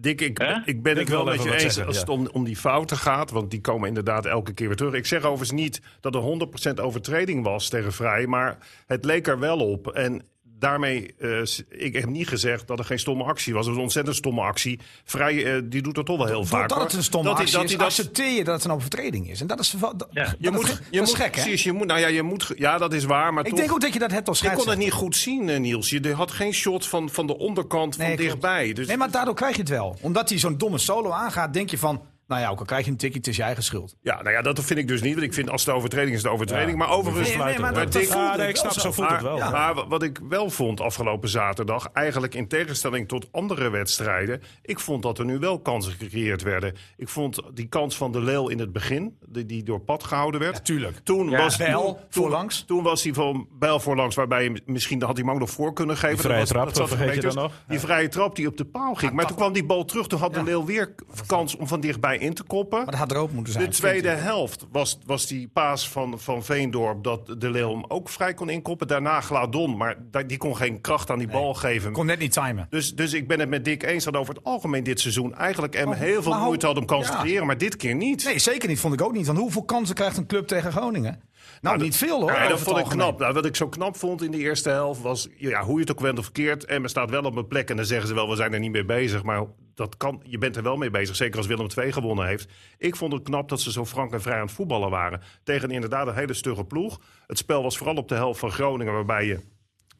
[SPEAKER 5] Dick, ik,
[SPEAKER 1] Hè?
[SPEAKER 5] ik ben het
[SPEAKER 3] wil
[SPEAKER 5] wel met
[SPEAKER 3] even
[SPEAKER 5] je
[SPEAKER 3] wat
[SPEAKER 5] eens
[SPEAKER 3] zeggen,
[SPEAKER 5] als
[SPEAKER 3] ja.
[SPEAKER 5] het om, om die fouten gaat. Want die komen inderdaad elke keer weer terug. Ik zeg overigens niet dat er 100% overtreding was tegen Vrij. Maar het leek er wel op. En daarmee, eh, s- ik heb niet gezegd dat er geen stomme actie was. Het was een ontzettend stomme actie. Vrij, eh, die doet dat toch wel heel vaak.
[SPEAKER 6] Doordat
[SPEAKER 5] hoor.
[SPEAKER 6] het een stomme
[SPEAKER 5] hij-
[SPEAKER 6] actie is,
[SPEAKER 5] hij dat-
[SPEAKER 6] accepteer je dat het een overtreding is. En dat is, verva- dat,
[SPEAKER 1] Ja.
[SPEAKER 6] dat
[SPEAKER 5] je
[SPEAKER 6] is-
[SPEAKER 5] moet,
[SPEAKER 6] dat
[SPEAKER 5] je
[SPEAKER 6] is
[SPEAKER 5] moet,
[SPEAKER 6] gek, hè?
[SPEAKER 5] precies, je moet, nou ja, je moet, ge- ja, dat is waar. Maar
[SPEAKER 6] Ik
[SPEAKER 5] toch,
[SPEAKER 6] denk ook dat je dat hebt als
[SPEAKER 5] ik kon
[SPEAKER 6] scheidsrechter.
[SPEAKER 5] het niet goed zien, eh, Niels. Je had geen shot van, van de onderkant van
[SPEAKER 6] klopt.
[SPEAKER 5] dichtbij. Dus
[SPEAKER 6] Nee, maar daardoor krijg je het wel. Omdat hij zo'n domme solo aangaat, denk je van... Nou ja, ook al krijg je een tikkie, het is je eigen schuld.
[SPEAKER 5] Ja, nou ja, dat vind ik dus niet. Want ik vind als de overtreding is de overtreding. maar overigens...
[SPEAKER 6] Nee, nee, maar
[SPEAKER 5] maar
[SPEAKER 6] dat-
[SPEAKER 5] Dick-
[SPEAKER 6] dat voelde Ah,
[SPEAKER 3] Ja, Ah, nee,
[SPEAKER 6] ik
[SPEAKER 3] ik
[SPEAKER 6] wel
[SPEAKER 3] snap,
[SPEAKER 6] zo.
[SPEAKER 3] zo voelt het wel.
[SPEAKER 5] maar,
[SPEAKER 3] Ja.
[SPEAKER 5] maar wat ik wel vond afgelopen zaterdag, eigenlijk in tegenstelling tot andere wedstrijden, ik vond dat er nu wel kansen gecreëerd werden. Ik vond die kans van de Leeuw in het begin, die, die door pad gehouden werd.
[SPEAKER 6] tuurlijk.
[SPEAKER 5] Toen was
[SPEAKER 6] Bijl
[SPEAKER 5] toen- toen-
[SPEAKER 6] voorlangs.
[SPEAKER 5] Toen was hij van Bijl voorlangs, waarbij je misschien had hij hem ook nog voor kunnen geven.
[SPEAKER 3] Die vrije
[SPEAKER 5] Dat was-
[SPEAKER 3] trap,
[SPEAKER 5] dat zat
[SPEAKER 3] dat
[SPEAKER 5] er een
[SPEAKER 3] vergeet
[SPEAKER 5] beetje
[SPEAKER 3] je dan
[SPEAKER 5] tussen.
[SPEAKER 3] nog.
[SPEAKER 5] Die vrije trap die op de paal ging. Maar toen kwam die bal terug, toen had de Leeuw weer kans om van dichtbij in te koppen.
[SPEAKER 6] Maar dat had er ook moeten zijn.
[SPEAKER 5] De tweede helft was, was die paas van, van Veendorp dat de Leeuw hem ook vrij kon inkoppen. Daarna Gladon, maar da- die kon geen kracht aan die bal geven.
[SPEAKER 6] Kon net niet timen.
[SPEAKER 5] Dus, dus ik ben het met Dick eens dat over het algemeen dit seizoen eigenlijk hem
[SPEAKER 6] Oh,
[SPEAKER 5] heel veel
[SPEAKER 6] maar
[SPEAKER 5] moeite
[SPEAKER 6] hoe-
[SPEAKER 5] had om kansen
[SPEAKER 6] ja.
[SPEAKER 5] te creëren, maar dit keer niet.
[SPEAKER 6] Nee, zeker niet. Vond ik ook niet. Want hoeveel kansen krijgt een club tegen Groningen? Nou, niet veel hoor.
[SPEAKER 5] Ja,
[SPEAKER 6] over
[SPEAKER 5] dat
[SPEAKER 6] het
[SPEAKER 5] vond ik
[SPEAKER 6] algemeen.
[SPEAKER 5] knap. Nou, wat ik zo knap vond in de eerste helft was, ja, hoe je het ook went of verkeerd, Emmen staat wel op een plek en dan zeggen ze wel, we zijn er niet mee bezig. Maar dat kan, je bent er wel mee bezig, zeker als Willem II gewonnen heeft. Ik vond het knap dat ze zo frank en vrij aan het voetballen waren. Tegen inderdaad een hele stugge ploeg. Het spel was vooral op de helft van Groningen, waarbij je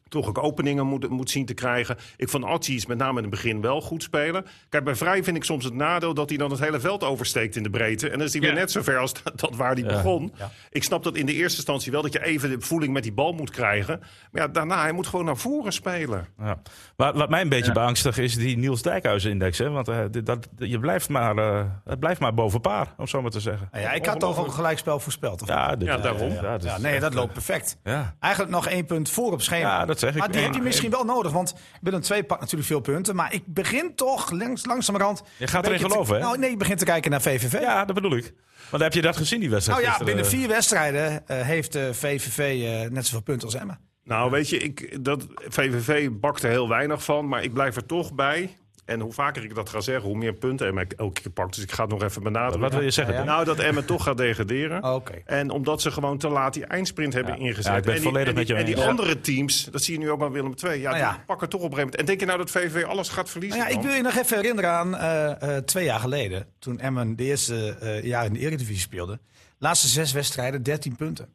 [SPEAKER 5] toch ook openingen moet, moet zien te krijgen. Ik vond Atsi met name in het begin wel goed spelen. Kijk, bij Vrij vind ik soms het nadeel dat hij dan het hele veld oversteekt in de breedte. En dan is hij weer
[SPEAKER 1] Ja.
[SPEAKER 5] net zo ver als dat, dat waar hij begon. Ik snap dat in de eerste instantie wel dat je even de voeling met die bal moet krijgen. Maar ja, daarna, hij moet gewoon naar voren spelen.
[SPEAKER 3] Ja. Wat, wat mij een beetje beangstigt is die Niels Dijkhuizen-index. hè, Want eh, dit- dat, je blijft maar, eh, het blijft maar boven paar, om zo maar te zeggen.
[SPEAKER 6] Nou ja, ik had toch een gelijkspel voorspeld. Of
[SPEAKER 3] Ja, dit-
[SPEAKER 5] Ja, daarom.
[SPEAKER 3] Ja, dat is-
[SPEAKER 6] Ja, nee, dat loopt perfect.
[SPEAKER 3] Ja.
[SPEAKER 6] Eigenlijk nog één punt voor op schema.
[SPEAKER 3] Ja, dat zeg ik.
[SPEAKER 6] Maar die
[SPEAKER 3] Ja.
[SPEAKER 6] heb je misschien wel nodig, want Willem II pakt natuurlijk veel punten. Maar ik begin toch langs, langzamerhand...
[SPEAKER 3] Je gaat
[SPEAKER 6] een
[SPEAKER 3] erin
[SPEAKER 6] beetje te-
[SPEAKER 3] geloven, hè?
[SPEAKER 6] Nou, nee, ik begin te kijken naar VVV.
[SPEAKER 3] ja, dat bedoel ik. Want heb je dat gezien, die wedstrijd
[SPEAKER 6] nou ja,
[SPEAKER 3] gisteren?
[SPEAKER 6] binnen vier wedstrijden eh, heeft eh, VVV eh, net zoveel punten als Emma.
[SPEAKER 5] Nou, weet je, ik, dat, VVV bakt er heel weinig van, maar ik blijf er toch bij. En hoe vaker ik dat ga zeggen, hoe meer punten Emmen elke keer pakt. Dus ik ga het nog even benadrukken.
[SPEAKER 3] Wat wil je zeggen?
[SPEAKER 6] Ja, ja.
[SPEAKER 3] Dick?
[SPEAKER 5] Nou, dat Emmen toch gaat degraderen.
[SPEAKER 6] Oh, Oké.
[SPEAKER 5] En omdat ze gewoon te laat die eindsprint hebben
[SPEAKER 3] Ja.
[SPEAKER 5] ingezet.
[SPEAKER 3] Ja, ik ben
[SPEAKER 5] en
[SPEAKER 3] het
[SPEAKER 5] die,
[SPEAKER 3] volledig
[SPEAKER 5] en die,
[SPEAKER 3] met jou
[SPEAKER 5] en die
[SPEAKER 3] eens.
[SPEAKER 5] andere teams, dat zie je nu ook bij Willem II. Ja,
[SPEAKER 6] Nou ja.
[SPEAKER 5] die pakken toch op een gegeven moment. En denk je nou dat VVV alles gaat verliezen?
[SPEAKER 6] Nou ja, ik
[SPEAKER 5] dan?
[SPEAKER 6] wil je nog even herinneren aan eh, eh, twee jaar geleden. Toen Emmen de eerste eh, jaar in de Eredivisie speelde. Laatste zes wedstrijden, 13 punten.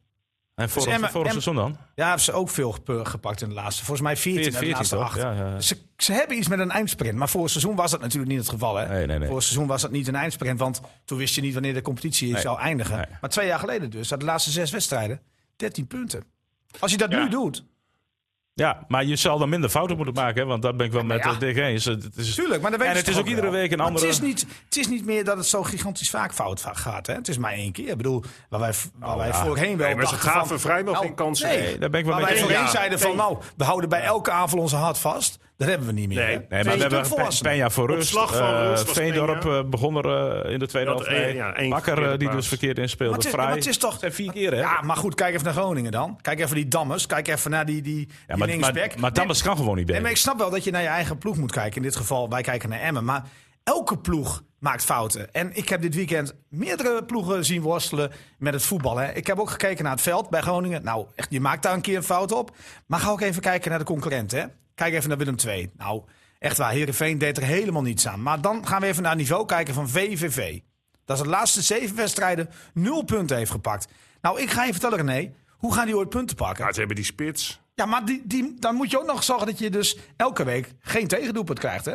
[SPEAKER 3] en vorig,
[SPEAKER 6] Emma-
[SPEAKER 3] vorig
[SPEAKER 6] Emma-
[SPEAKER 3] seizoen dan?
[SPEAKER 6] Ja, hebben ze ook veel gep- gepakt in de laatste. Volgens mij 14, in de
[SPEAKER 3] 14,
[SPEAKER 6] laatste
[SPEAKER 3] toch?
[SPEAKER 6] acht.
[SPEAKER 3] Ja, ja, ja.
[SPEAKER 6] Ze, ze hebben iets met een eindsprint. Maar vorig seizoen was dat natuurlijk niet het geval. Hè?
[SPEAKER 3] Nee, nee, nee.
[SPEAKER 6] Vorig seizoen was dat niet een eindsprint. Want toen wist je niet wanneer de competitie zou eindigen.
[SPEAKER 3] Nee.
[SPEAKER 6] Maar twee jaar geleden dus, dat de laatste zes wedstrijden, 13 punten. Als je dat nu doet,
[SPEAKER 3] Ja, maar je zal dan minder fouten moeten maken, hè, want dat ben ik wel met
[SPEAKER 6] ja.
[SPEAKER 3] eh, Dick eens. Het het is,
[SPEAKER 6] tuurlijk. Maar dan weet
[SPEAKER 3] en
[SPEAKER 6] je
[SPEAKER 3] het is
[SPEAKER 6] toch
[SPEAKER 3] ook iedere
[SPEAKER 6] wel.
[SPEAKER 3] week een
[SPEAKER 6] Maar
[SPEAKER 3] andere.
[SPEAKER 6] Het is, niet, het is niet meer dat het zo gigantisch vaak fout va- gaat. Hè? Het is maar één keer. Ik bedoel, waar wij, waar wij voorheen wel
[SPEAKER 5] Nee, maar ze
[SPEAKER 6] dachten
[SPEAKER 5] gaven
[SPEAKER 6] van,
[SPEAKER 5] vrijwel
[SPEAKER 6] nou,
[SPEAKER 5] geen kansen.
[SPEAKER 6] nee.
[SPEAKER 5] weg.
[SPEAKER 3] Nee, daar ben ik wel
[SPEAKER 6] Waar
[SPEAKER 3] met
[SPEAKER 6] wij
[SPEAKER 3] je eens.
[SPEAKER 5] Ja.
[SPEAKER 6] voorheen zeiden van,
[SPEAKER 5] Nee.
[SPEAKER 6] nou, we houden bij elke aanval onze hart vast. Dat hebben we niet meer.
[SPEAKER 5] Nee.
[SPEAKER 6] hè?
[SPEAKER 5] Nee,
[SPEAKER 3] Nee, maar
[SPEAKER 6] Twee
[SPEAKER 3] we hebben
[SPEAKER 6] stuk
[SPEAKER 3] Pe-
[SPEAKER 6] volwassenen.
[SPEAKER 3] Penja voor rust.
[SPEAKER 5] Ontslag van
[SPEAKER 3] Eh,
[SPEAKER 5] rust was
[SPEAKER 3] Veendorp
[SPEAKER 5] Penja.
[SPEAKER 3] eh, begon er eh, in de tweede
[SPEAKER 5] Dat
[SPEAKER 3] helft
[SPEAKER 5] één-
[SPEAKER 3] mee.
[SPEAKER 5] ja, één
[SPEAKER 3] Bakker eh,
[SPEAKER 5] verkeerde
[SPEAKER 3] die
[SPEAKER 5] paas.
[SPEAKER 3] dus verkeerd inspeelde.
[SPEAKER 6] Maar het is-
[SPEAKER 3] Vrij.
[SPEAKER 6] maar het is toch-
[SPEAKER 3] Dat zijn vier keer, hè?
[SPEAKER 6] Ja, maar goed, kijk even naar Groningen dan. Kijk even die Dammers. Kijk even naar die, die,
[SPEAKER 3] Ja,
[SPEAKER 6] die
[SPEAKER 3] maar,
[SPEAKER 6] linksback.
[SPEAKER 3] maar, maar Dammers kan gewoon niet
[SPEAKER 6] Nee, maar
[SPEAKER 3] beter.
[SPEAKER 6] ik snap wel dat je naar je eigen ploeg moet kijken. In dit geval, wij kijken naar Emmen. Maar elke ploeg maakt fouten. En ik heb dit weekend meerdere ploegen zien worstelen met het voetbal. Hè. Ik heb ook gekeken naar het veld bij Groningen. Nou, echt, je maakt daar een keer een fout op. Maar ga ook even kijken naar de concurrent. Hè. Kijk even naar Willem II. Nou, echt waar, Heerenveen deed er helemaal niets aan. Maar dan gaan we even naar het niveau kijken van VVV. Dat is de laatste zeven wedstrijden nul punten heeft gepakt. Nou, ik ga je vertellen, René. Hoe gaan die ooit punten pakken?
[SPEAKER 5] Ja, ze hebben die spits.
[SPEAKER 6] Ja, maar die, die, dan moet je ook nog zorgen dat je dus elke week geen tegendoelpunt krijgt, hè?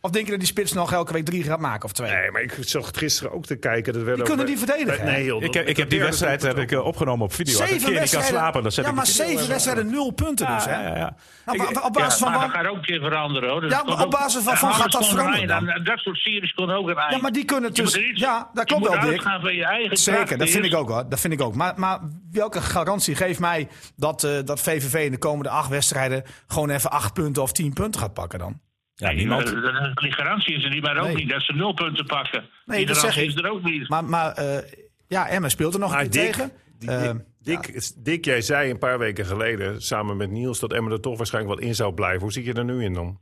[SPEAKER 6] Of denk je dat die spits nog elke week drie gaat maken of twee?
[SPEAKER 5] Nee, maar ik zat gisteren ook te kijken. Dat werden
[SPEAKER 6] Die kunnen die verdedigen, hè?
[SPEAKER 5] Nee, joh,
[SPEAKER 3] Ik heb, ik heb die
[SPEAKER 5] derde
[SPEAKER 3] wedstrijd heb ik, eh, opgenomen op video. Als ik een keer niet kan slapen, dan zet
[SPEAKER 6] ja,
[SPEAKER 3] ik
[SPEAKER 6] maar
[SPEAKER 3] die video
[SPEAKER 6] zeven
[SPEAKER 3] even-
[SPEAKER 6] wedstrijden nul punten dus, hè?
[SPEAKER 3] Ja, ja, ja.
[SPEAKER 6] Nou,
[SPEAKER 3] Ik-
[SPEAKER 6] maar op basis van
[SPEAKER 1] maar
[SPEAKER 6] waar-
[SPEAKER 1] dat gaat ook weer veranderen hoor. Dat
[SPEAKER 6] Ja,
[SPEAKER 1] komt
[SPEAKER 6] maar op
[SPEAKER 1] ook-
[SPEAKER 6] basis waarvan
[SPEAKER 1] Ja,
[SPEAKER 6] gaat dat
[SPEAKER 1] alles kon een
[SPEAKER 6] veranderen
[SPEAKER 1] eind aan. Dat soort series kon ook een eind.
[SPEAKER 6] Ja, maar die kunnen
[SPEAKER 1] Je moet
[SPEAKER 6] tussen-
[SPEAKER 1] er iets-
[SPEAKER 6] ja, dat
[SPEAKER 1] je
[SPEAKER 6] klopt
[SPEAKER 1] moet
[SPEAKER 6] wel, Dick.
[SPEAKER 1] uitgaan van je eigen
[SPEAKER 6] Zeker,
[SPEAKER 1] kracht
[SPEAKER 6] dat vind ik
[SPEAKER 1] eerst.
[SPEAKER 6] ook hoor. Dat vind ik ook. Maar, maar welke garantie geeft mij dat, eh, dat VVV in de komende acht wedstrijden gewoon even acht punten of tien punten gaat pakken dan?
[SPEAKER 3] Ja, niemand.
[SPEAKER 1] Nee, maar, eh, Die garantie is er niet, maar ook
[SPEAKER 6] Nee.
[SPEAKER 1] niet dat ze nul punten pakken.
[SPEAKER 6] Nee,
[SPEAKER 1] die
[SPEAKER 6] dat
[SPEAKER 1] garantie
[SPEAKER 6] zeg ik.
[SPEAKER 1] is er ook niet.
[SPEAKER 6] Maar, maar eh, ja, Emma speelt er nog een
[SPEAKER 5] Maar
[SPEAKER 6] keer
[SPEAKER 5] Ah, Dick,
[SPEAKER 6] tegen.
[SPEAKER 5] die-
[SPEAKER 6] Eh,
[SPEAKER 5] Dick, is- Dick, jij zei een paar weken geleden samen met Niels dat Emmen er toch waarschijnlijk wel in zou blijven. Hoe zit je er nu in dan?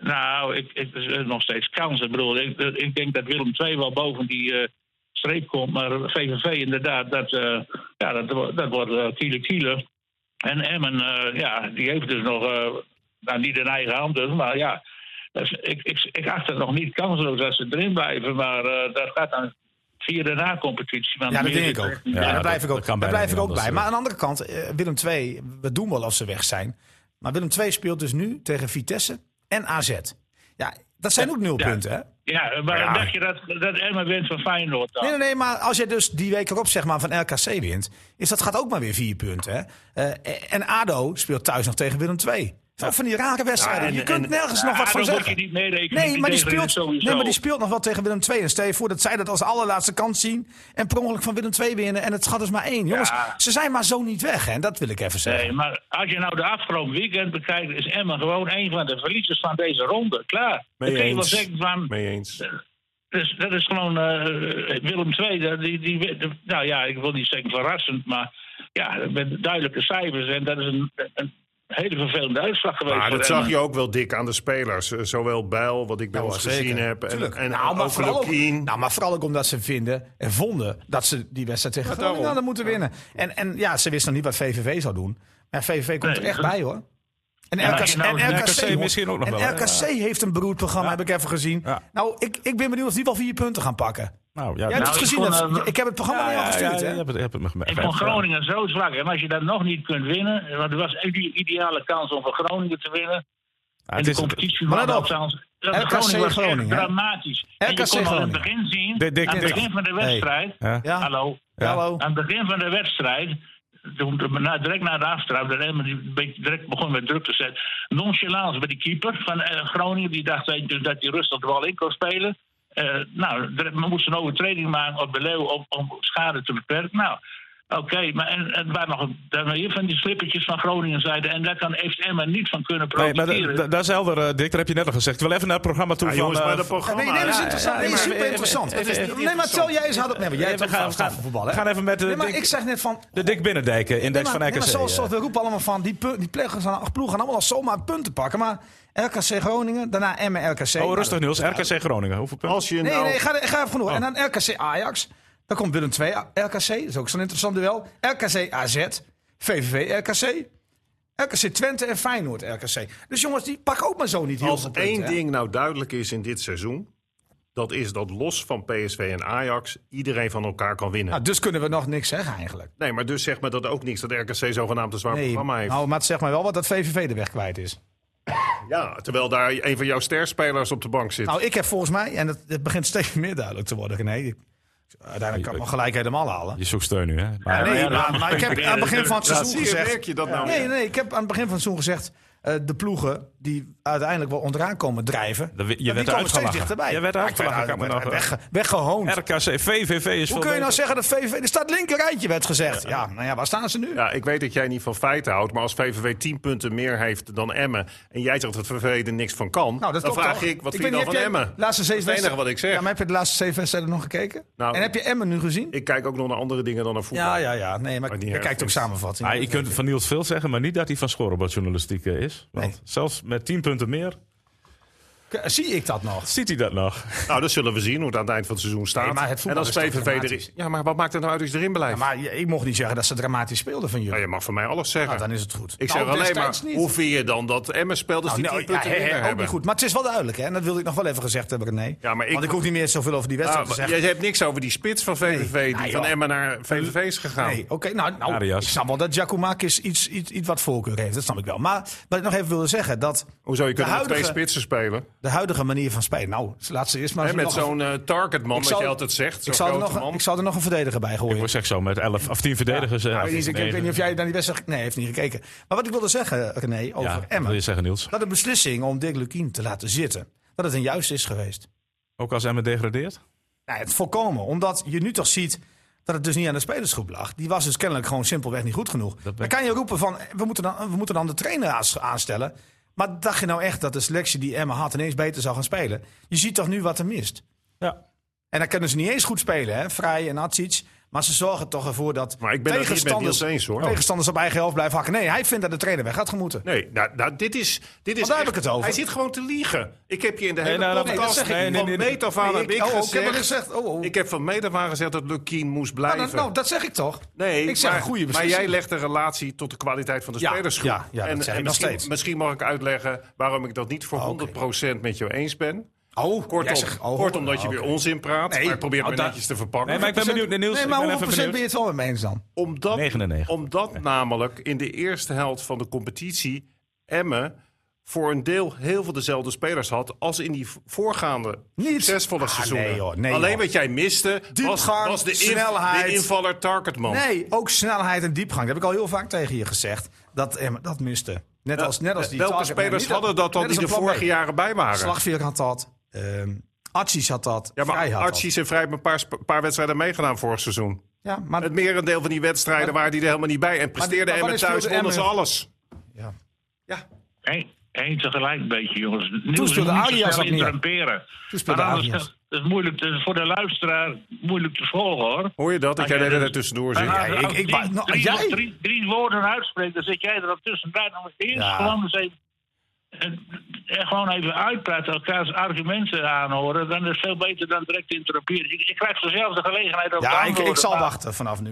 [SPEAKER 1] Nou, ik, ik, er zijn nog steeds kansen. Ik, bedoel, ik, ik denk dat Willem II wel boven die eh, streep komt. Maar VVV inderdaad, dat, eh, ja, dat, dat wordt eh, kiele kiele. En Emmen, eh, ja, die heeft dus nog... eh, nou, niet in eigen hand dus, maar ja... dat is- Ik, ik, ik acht het nog niet kansloos dat ze erin blijven. Maar eh, dat gaat dan via de na-competitie. want
[SPEAKER 6] Ja, dat
[SPEAKER 1] meer
[SPEAKER 6] denk ik
[SPEAKER 1] is
[SPEAKER 6] ook.
[SPEAKER 1] er echt niet
[SPEAKER 6] Ja,
[SPEAKER 1] bij.
[SPEAKER 6] daar
[SPEAKER 3] dat-
[SPEAKER 6] blijf ik
[SPEAKER 3] dat
[SPEAKER 6] ook,
[SPEAKER 3] kan
[SPEAKER 6] daar
[SPEAKER 3] bijna
[SPEAKER 6] blijf ik
[SPEAKER 3] niet
[SPEAKER 6] ook bij.
[SPEAKER 3] anders,
[SPEAKER 6] Maar aan de andere kant, eh, Willem II, we doen wel of ze weg zijn. Maar Willem II speelt dus nu tegen Vitesse en AZ. Ja, dat zijn ook nul
[SPEAKER 1] ja.
[SPEAKER 6] punten, hè?
[SPEAKER 1] Ja, maar
[SPEAKER 5] Ja.
[SPEAKER 1] dacht je dat, dat Emmen wint van Feyenoord dan?
[SPEAKER 6] Nee, nee, nee, maar als je dus die week erop zeg maar, van RKC wint... Is dat gaat ook maar weer vier punten, hè? Eh, en ADO speelt thuis nog tegen Willem II. Zo van die rare wedstrijden.
[SPEAKER 5] Ja, en-
[SPEAKER 6] je kunt
[SPEAKER 5] en-
[SPEAKER 6] nergens nog wat
[SPEAKER 1] Ah,
[SPEAKER 6] van
[SPEAKER 1] dan moet je
[SPEAKER 6] zeggen.
[SPEAKER 1] niet meerekenen.
[SPEAKER 6] Nee maar, die
[SPEAKER 1] tegen
[SPEAKER 6] speelt,
[SPEAKER 1] sowieso.
[SPEAKER 6] nee, maar die speelt nog wel tegen Willem II. En stel je voor dat zij dat als allerlaatste kans zien. En per ongeluk van Willem II winnen. En het schat is maar één. Jongens,
[SPEAKER 1] Ja.
[SPEAKER 6] ze zijn maar zo niet weg. Hè? En dat wil ik even zeggen.
[SPEAKER 1] Nee, maar als je nou de afgelopen weekend bekijkt, is Emmen gewoon een van de verliezers van deze ronde. Klaar.
[SPEAKER 5] Mee
[SPEAKER 1] Dan kun je wel
[SPEAKER 5] eens.
[SPEAKER 1] zeggen van.
[SPEAKER 5] Mee eens.
[SPEAKER 1] Dus, dat is gewoon eh, Willem II. dat- Die, die, die- nou ja, ik wil niet zeggen verrassend, maar ja, met duidelijke cijfers. En dat is een, een hele vervelende uitslag geweest.
[SPEAKER 5] Maar
[SPEAKER 1] voor
[SPEAKER 5] dat zag
[SPEAKER 1] Emmen.
[SPEAKER 5] je ook wel dik aan de spelers. Eh, Zowel Bijl, wat ik bij ons
[SPEAKER 6] zeker.
[SPEAKER 5] gezien heb, en,
[SPEAKER 6] Tuurlijk.
[SPEAKER 5] en
[SPEAKER 6] nou, maar
[SPEAKER 5] ook
[SPEAKER 6] vooral ook,
[SPEAKER 5] Lukien.
[SPEAKER 6] nou, maar vooral ook omdat ze vinden en vonden dat ze die wedstrijd tegen Groningen hadden moeten winnen. En, en ja, ze wisten nog niet wat VVV zou doen. Maar VVV komt
[SPEAKER 1] Nee,
[SPEAKER 6] er echt
[SPEAKER 1] dat-
[SPEAKER 6] bij hoor. En
[SPEAKER 1] maar
[SPEAKER 6] RKC,
[SPEAKER 1] je nou-
[SPEAKER 6] en
[SPEAKER 3] RKC
[SPEAKER 6] RKC,
[SPEAKER 3] misschien ook nog
[SPEAKER 6] en
[SPEAKER 3] wel, hè?
[SPEAKER 6] RKC heeft een beroerd programma, heb ik even gezien.
[SPEAKER 3] Ja.
[SPEAKER 6] Nou, ik, ik ben benieuwd of die wel vier punten gaan pakken.
[SPEAKER 3] Nou, ja.
[SPEAKER 6] Jij hebt
[SPEAKER 1] Nou,
[SPEAKER 6] het
[SPEAKER 1] ik
[SPEAKER 6] gezien.
[SPEAKER 1] vond,
[SPEAKER 6] dat-
[SPEAKER 1] eh,
[SPEAKER 6] ik heb het programma naar jou gestuurd. hè?
[SPEAKER 3] je hebt het- je hebt het me gemerkt.
[SPEAKER 1] Ik vond Groningen zo zwak. En als je dat nog niet kunt winnen, want het was echt die ideale kans om voor Groningen te winnen.
[SPEAKER 3] Ja,
[SPEAKER 1] en
[SPEAKER 3] het
[SPEAKER 1] de
[SPEAKER 3] is-
[SPEAKER 1] competitie
[SPEAKER 6] Maar
[SPEAKER 1] van
[SPEAKER 6] let op.
[SPEAKER 1] althans. dat
[SPEAKER 6] RKC
[SPEAKER 1] Groningen was echt
[SPEAKER 6] Groningen, hè?
[SPEAKER 1] dramatisch. En je
[SPEAKER 6] RKC
[SPEAKER 1] kon al aan het
[SPEAKER 6] Groningen.
[SPEAKER 1] begin zien,
[SPEAKER 3] Dik, dik,
[SPEAKER 1] aan het
[SPEAKER 3] dik.
[SPEAKER 1] begin van de wedstrijd.
[SPEAKER 3] Ja.
[SPEAKER 6] Ja.
[SPEAKER 1] Hallo.
[SPEAKER 3] Ja.
[SPEAKER 6] Hallo.
[SPEAKER 1] Aan het begin van de wedstrijd, toen, de- na, direct na de aftrap, de Emmer die een beetje direct begon met druk te zetten. Nonchalance bij die keeper van eh, Groningen, die dacht eh, dus dat hij rustig de bal in kon spelen. Eh, nou, er, we moesten een overtreding maken op de Leeuw om, om schade te beperken. Nou, oké, maar en, en waar nog een- daar waren hier van die slippertjes van Groningen zeiden. En daar kan, heeft Emma niet van kunnen
[SPEAKER 3] Nee,
[SPEAKER 1] profiteren.
[SPEAKER 3] maar da- da- daar is helder, eh, Dick. Dat heb je net al gezegd. Wel even naar het programma toe
[SPEAKER 5] Ja,
[SPEAKER 3] van...
[SPEAKER 5] Ah, jongens,
[SPEAKER 3] eh,
[SPEAKER 5] maar dat
[SPEAKER 6] Ja,
[SPEAKER 5] programma...
[SPEAKER 6] nee, nee, dat is interessant.
[SPEAKER 3] ja,
[SPEAKER 6] Nee,
[SPEAKER 3] ja, maar-
[SPEAKER 6] super interessant.
[SPEAKER 3] even- even-
[SPEAKER 6] Nee, maar tel jij eens hard op. Nee, maar jij
[SPEAKER 3] Nee,
[SPEAKER 6] hebt
[SPEAKER 3] we
[SPEAKER 6] ook
[SPEAKER 3] gaan-
[SPEAKER 6] vast aan
[SPEAKER 3] we
[SPEAKER 6] voor
[SPEAKER 3] gaan-
[SPEAKER 6] voetbal, hè?
[SPEAKER 3] we gaan even met de
[SPEAKER 6] Nee, maar
[SPEAKER 3] Dick-
[SPEAKER 6] ik zeg net van...
[SPEAKER 3] De Dick Binnendijk, eh, index
[SPEAKER 6] Nee,
[SPEAKER 3] van
[SPEAKER 6] maar- nee,
[SPEAKER 3] RKC.
[SPEAKER 6] maar zoals
[SPEAKER 3] eh.
[SPEAKER 6] zoals we roepen allemaal van, die, pu- die plegen van acht ploegen gaan allemaal al zomaar punten pakken. Maar RKC Groningen, daarna Emmen, RKC.
[SPEAKER 3] Oh, rustig Oh.
[SPEAKER 6] nu.
[SPEAKER 3] Niels. RKC Groningen. Hoeveel punten?
[SPEAKER 5] Als je
[SPEAKER 6] Nee,
[SPEAKER 5] nou...
[SPEAKER 6] nee, ga, ga even genoeg. En dan RKC Ajax. Dan komt Willem 2 RKC. Dat is ook zo'n interessant duel. RKC AZ. VVV RKC. RKC Twente en Feyenoord RKC. Dus jongens, die pakken ook maar zo niet heel
[SPEAKER 5] Als
[SPEAKER 6] veel punten.
[SPEAKER 5] één
[SPEAKER 6] hè?
[SPEAKER 5] ding nou duidelijk is in dit seizoen, dat is dat los van PSV en Ajax iedereen van elkaar kan winnen.
[SPEAKER 6] Nou, dus kunnen we nog niks zeggen eigenlijk.
[SPEAKER 5] Nee, maar dus zeg maar dat ook niks dat RKC zogenaamd een zwaar
[SPEAKER 6] Nee,
[SPEAKER 5] programma heeft.
[SPEAKER 6] nou, maar het zegt mij wel wat dat VVV de weg kwijt is.
[SPEAKER 5] Ja, terwijl daar een van jouw sterspelers op de bank zit.
[SPEAKER 6] Nou, ik heb volgens mij, en het, het begint steeds meer duidelijk te worden, nee, ik- uiteindelijk kan ik me gelijk helemaal halen.
[SPEAKER 3] Je zoekt steun nu, hè? Maar- eh,
[SPEAKER 6] Nee, maar, maar ik heb aan het begin van het
[SPEAKER 5] Ja,
[SPEAKER 6] seizoen
[SPEAKER 5] zie je,
[SPEAKER 6] gezegd...
[SPEAKER 5] merk je dat nou?
[SPEAKER 6] Nee, nee, ik heb aan het begin van het seizoen gezegd... eh, de ploegen die uiteindelijk wel onderaan komen drijven.
[SPEAKER 3] Je
[SPEAKER 6] maar die
[SPEAKER 3] werd
[SPEAKER 6] komen
[SPEAKER 3] uitgelachen.
[SPEAKER 6] steeds dichterbij.
[SPEAKER 3] Je werd
[SPEAKER 6] Ja, ik
[SPEAKER 3] uitgelachen,
[SPEAKER 6] werd
[SPEAKER 3] kan me
[SPEAKER 6] uit-
[SPEAKER 3] nog- eh,
[SPEAKER 6] wegge- Weggehoond.
[SPEAKER 3] RKC, VVV is
[SPEAKER 6] Hoe
[SPEAKER 3] veel
[SPEAKER 6] kun je nou
[SPEAKER 3] beter.
[SPEAKER 6] zeggen dat VVV... Er staat linker rijtje, werd gezegd. Ja, nou ja, waar staan ze nu?
[SPEAKER 5] Ja, ik weet dat jij niet van feiten houdt, maar als VVV 10 punten meer heeft dan Emmen en jij zegt dat VVV er niks van kan,
[SPEAKER 6] Nou, dat
[SPEAKER 5] dan
[SPEAKER 6] klopt
[SPEAKER 5] vraag
[SPEAKER 6] toch?
[SPEAKER 5] ik wat
[SPEAKER 6] weet
[SPEAKER 5] vind je dan
[SPEAKER 6] niet,
[SPEAKER 5] van
[SPEAKER 6] heb jij
[SPEAKER 5] Emmen?
[SPEAKER 6] de Laatste zeven
[SPEAKER 5] enige
[SPEAKER 6] wedstrijden-
[SPEAKER 5] wat ik zeg.
[SPEAKER 6] Ja, maar heb je de laatste zeven wedstrijden nog gekeken?
[SPEAKER 5] Nou,
[SPEAKER 6] en heb je Emmen nu gezien?
[SPEAKER 5] Ik kijk ook nog naar andere dingen dan naar voetbal.
[SPEAKER 6] Ja, ja, ja. Nee, maar
[SPEAKER 5] Maar
[SPEAKER 6] ik
[SPEAKER 5] niet
[SPEAKER 6] je
[SPEAKER 5] erg
[SPEAKER 6] kijkt ook
[SPEAKER 5] is.
[SPEAKER 6] samenvatting.
[SPEAKER 3] Ah, je kunt van Niels veel zeggen, maar niet dat hij van scorebordjournalistiek eh, is. Want
[SPEAKER 6] Nee.
[SPEAKER 3] zelfs met 10 punten meer
[SPEAKER 6] K- Zie ik dat nog?
[SPEAKER 3] ziet hij dat nog.
[SPEAKER 5] Nou, dat zullen we zien hoe het aan het eind van het seizoen staat.
[SPEAKER 6] Nee, maar het
[SPEAKER 5] en
[SPEAKER 6] voetbal
[SPEAKER 5] als
[SPEAKER 6] is toch
[SPEAKER 5] VVV er
[SPEAKER 6] dramatisch?
[SPEAKER 5] is. Ja, maar wat maakt het nou uit als je erin blijft?
[SPEAKER 6] Maar je- ik mocht niet zeggen dat ze dramatisch speelden van
[SPEAKER 5] Nou,
[SPEAKER 6] jullie.
[SPEAKER 5] je mag van mij alles zeggen.
[SPEAKER 6] Nou, dan is het goed.
[SPEAKER 5] ik
[SPEAKER 6] Nou,
[SPEAKER 5] zeg alleen maar,
[SPEAKER 6] destijds niet.
[SPEAKER 5] hoe vind je dan dat Emmen speelt als
[SPEAKER 6] Nou,
[SPEAKER 5] die
[SPEAKER 6] nee,
[SPEAKER 5] 10
[SPEAKER 6] ja,
[SPEAKER 5] punten
[SPEAKER 6] hè,
[SPEAKER 5] minder
[SPEAKER 6] hè, ook
[SPEAKER 5] hebben?
[SPEAKER 6] niet goed. Maar het is wel duidelijk, hè? En dat wilde ik nog wel even gezegd hebben, René.
[SPEAKER 5] Ja, maar ik-
[SPEAKER 6] Want ik hoef niet meer zoveel over die wedstrijd te
[SPEAKER 5] Ah,
[SPEAKER 6] zeggen.
[SPEAKER 5] je hebt niks over die spits van VVV die
[SPEAKER 6] Nou,
[SPEAKER 5] van
[SPEAKER 6] joh.
[SPEAKER 5] Emmen naar VVV is gegaan.
[SPEAKER 6] Nee, oké. nou, nou ik
[SPEAKER 3] Arias.
[SPEAKER 6] snap wel dat Giacomakis iets, iets, iets wat voorkeur heeft. Dat snap ik wel. Maar wat ik nog even wilde zeggen, dat
[SPEAKER 5] Hoezo, je kunt met
[SPEAKER 6] huidige-
[SPEAKER 5] twee spitsen spelen.
[SPEAKER 6] de huidige manier van spelen... Nou, laat ze eerst maar...
[SPEAKER 5] En
[SPEAKER 6] eens
[SPEAKER 5] met
[SPEAKER 6] nog-
[SPEAKER 5] zo'n eh, targetman,
[SPEAKER 6] Ik
[SPEAKER 5] wat
[SPEAKER 6] zal-
[SPEAKER 5] je altijd zegt.
[SPEAKER 6] ik
[SPEAKER 5] Zo'n
[SPEAKER 6] zal, er
[SPEAKER 5] grote
[SPEAKER 6] nog, een-
[SPEAKER 5] man.
[SPEAKER 6] ik zal er nog een verdediger bij gooien.
[SPEAKER 3] Ik zeg zo, met 11 of 10 verdedigers. eh,
[SPEAKER 6] Nou, ik, weet niet, ik- ik
[SPEAKER 3] negen.
[SPEAKER 6] weet niet of jij naar die wedstrijd... Nee, hij heeft niet gekeken. Maar wat ik wilde zeggen, René, over
[SPEAKER 3] Ja, wat wil je
[SPEAKER 6] Emmen...
[SPEAKER 3] zeggen, Niels?
[SPEAKER 6] Dat de beslissing om Dick Lukien te laten zitten... dat het een juist is geweest.
[SPEAKER 3] Ook als Emmen degradeert?
[SPEAKER 6] Nou, het volkomen. Omdat je nu toch ziet dat het dus niet aan de spelersgroep lag. Die was dus kennelijk gewoon simpelweg niet goed genoeg.
[SPEAKER 3] ben
[SPEAKER 6] Dan
[SPEAKER 3] ik-
[SPEAKER 6] kan je roepen van, eh, we moeten dan, we moeten dan de trainer aans- aanstellen. Maar dacht je nou echt dat de selectie die Emma had ineens beter zou gaan spelen? Je ziet toch nu wat er mist.
[SPEAKER 3] Ja.
[SPEAKER 6] En dan kunnen ze niet eens goed spelen, hè? Vrij en Atsic. Maar ze zorgen toch ervoor dat
[SPEAKER 5] Maar ik ben het niet met
[SPEAKER 6] tegenstanders,
[SPEAKER 5] Niels eens, hoor.
[SPEAKER 6] tegenstanders op eigen helft blijven hakken. Nee, hij vindt dat de trainer weg had gemoeten.
[SPEAKER 5] Nee, nou, nou, dit is. Dit is
[SPEAKER 6] daar heb ik het over.
[SPEAKER 5] Hij zit gewoon te liegen. Ik heb je in de hele
[SPEAKER 3] nou, dat-
[SPEAKER 5] podcast
[SPEAKER 3] nee, dat zeg ik niet.
[SPEAKER 5] van
[SPEAKER 3] Nee, nee, nee.
[SPEAKER 5] meet af aan
[SPEAKER 6] Nee,
[SPEAKER 5] heb
[SPEAKER 6] ik-
[SPEAKER 5] ik
[SPEAKER 6] oh, ik heb
[SPEAKER 5] gezegd.
[SPEAKER 6] het gezegd. Oh, oh.
[SPEAKER 5] Ik heb van meet af aan gezegd dat Lukien moest
[SPEAKER 6] Nou,
[SPEAKER 5] blijven.
[SPEAKER 6] dat, nou, dat zeg ik toch?
[SPEAKER 5] nee,
[SPEAKER 6] ik zeg
[SPEAKER 5] maar,
[SPEAKER 6] een goede
[SPEAKER 5] maar
[SPEAKER 6] beslissing.
[SPEAKER 5] jij legt de relatie tot de kwaliteit van de
[SPEAKER 6] Ja,
[SPEAKER 5] spelersgroep.
[SPEAKER 6] ja, ja, dat
[SPEAKER 5] en,
[SPEAKER 6] zeg ik
[SPEAKER 5] en
[SPEAKER 6] nog
[SPEAKER 5] misschien,
[SPEAKER 6] steeds.
[SPEAKER 5] misschien mag ik uitleggen waarom ik dat niet voor 100% met jou eens ben.
[SPEAKER 6] Oh,
[SPEAKER 5] Kortom,
[SPEAKER 6] jij zegt- oh,
[SPEAKER 5] kortom dat je
[SPEAKER 6] oh,
[SPEAKER 5] weer
[SPEAKER 6] oké.
[SPEAKER 5] onzin praat.
[SPEAKER 6] Nee,
[SPEAKER 5] maar ik probeer het
[SPEAKER 6] nou,
[SPEAKER 5] weer
[SPEAKER 6] dat-
[SPEAKER 5] netjes te verpakken.
[SPEAKER 3] Nee, maar ik ben benieuwd naar Niels.
[SPEAKER 6] Nee,
[SPEAKER 3] ik ben
[SPEAKER 6] maar
[SPEAKER 3] even
[SPEAKER 6] 100% ben
[SPEAKER 3] benieuwd.
[SPEAKER 6] je het wel met me eens dan?
[SPEAKER 5] Omdat,
[SPEAKER 3] 99.
[SPEAKER 5] omdat namelijk in de eerste helft van de competitie Emmen voor een deel heel veel dezelfde spelers had als in die v- voorgaande
[SPEAKER 6] Niet.
[SPEAKER 5] succesvolle
[SPEAKER 6] Ah,
[SPEAKER 5] seizoenen.
[SPEAKER 6] nee, joh, nee,
[SPEAKER 5] Alleen
[SPEAKER 6] joh.
[SPEAKER 5] wat jij miste was,
[SPEAKER 6] Diepgang,
[SPEAKER 5] was de, inv-
[SPEAKER 6] snelheid.
[SPEAKER 5] de invaller targetman.
[SPEAKER 6] Nee, ook snelheid en diepgang. Dat heb ik al heel vaak tegen je gezegd. Dat, eh, dat miste. Net als, net als die
[SPEAKER 5] Welke
[SPEAKER 6] target-
[SPEAKER 5] spelers
[SPEAKER 6] niet
[SPEAKER 5] hadden dat dan
[SPEAKER 6] net als
[SPEAKER 5] die de
[SPEAKER 6] een plan
[SPEAKER 5] vorige
[SPEAKER 6] B.
[SPEAKER 5] jaren bij waren?
[SPEAKER 6] Slagveer had dat. ehm Archies had dat.
[SPEAKER 5] ja,
[SPEAKER 6] Vrij
[SPEAKER 5] maar
[SPEAKER 6] had
[SPEAKER 5] Archie en Vrij hebben een paar, sp- paar wedstrijden meegedaan vorig seizoen.
[SPEAKER 6] dat. Ja, maar,
[SPEAKER 5] Het merendeel van die wedstrijden waren die er helemaal niet bij. En presteerde
[SPEAKER 6] maar
[SPEAKER 5] Emmen
[SPEAKER 6] wanneer
[SPEAKER 5] thuis,
[SPEAKER 6] speelde
[SPEAKER 5] wonnen ze
[SPEAKER 6] Emmen-
[SPEAKER 5] alles.
[SPEAKER 6] ja.
[SPEAKER 1] Eén, één tegelijk een beetje, jongens. Niels, je
[SPEAKER 6] speelde
[SPEAKER 1] moet
[SPEAKER 6] Arias
[SPEAKER 1] je snel
[SPEAKER 6] wat meer.
[SPEAKER 1] intramperen.
[SPEAKER 6] Toen speelde
[SPEAKER 1] Maar anders-
[SPEAKER 6] Arias.
[SPEAKER 1] Dat is moeilijk te- voor de luisteraar moeilijk te volgen, hoor.
[SPEAKER 5] Hoor je dat? Dat
[SPEAKER 6] Ah,
[SPEAKER 1] Ja,
[SPEAKER 5] jij de hele
[SPEAKER 1] dat-
[SPEAKER 5] tijd tussendoor
[SPEAKER 1] Maar
[SPEAKER 5] zit.
[SPEAKER 1] als-
[SPEAKER 6] ik-
[SPEAKER 1] als
[SPEAKER 6] ik-
[SPEAKER 1] drie-
[SPEAKER 6] maar- nou,
[SPEAKER 1] drie,
[SPEAKER 6] jij?
[SPEAKER 1] drie, drie woorden uitspreekt, dan zit jij er al tussenuit. Dan eerst
[SPEAKER 6] Ja.
[SPEAKER 1] gewoon eens even... En, en gewoon even uitpraten, elkaars argumenten aanhoren. Dan is het veel beter dan direct interromperen. Ik, ik krijg zelf de gelegenheid om te
[SPEAKER 6] ja ik,
[SPEAKER 1] antwoorden,
[SPEAKER 6] ik zal
[SPEAKER 1] maar
[SPEAKER 6] wachten vanaf nu.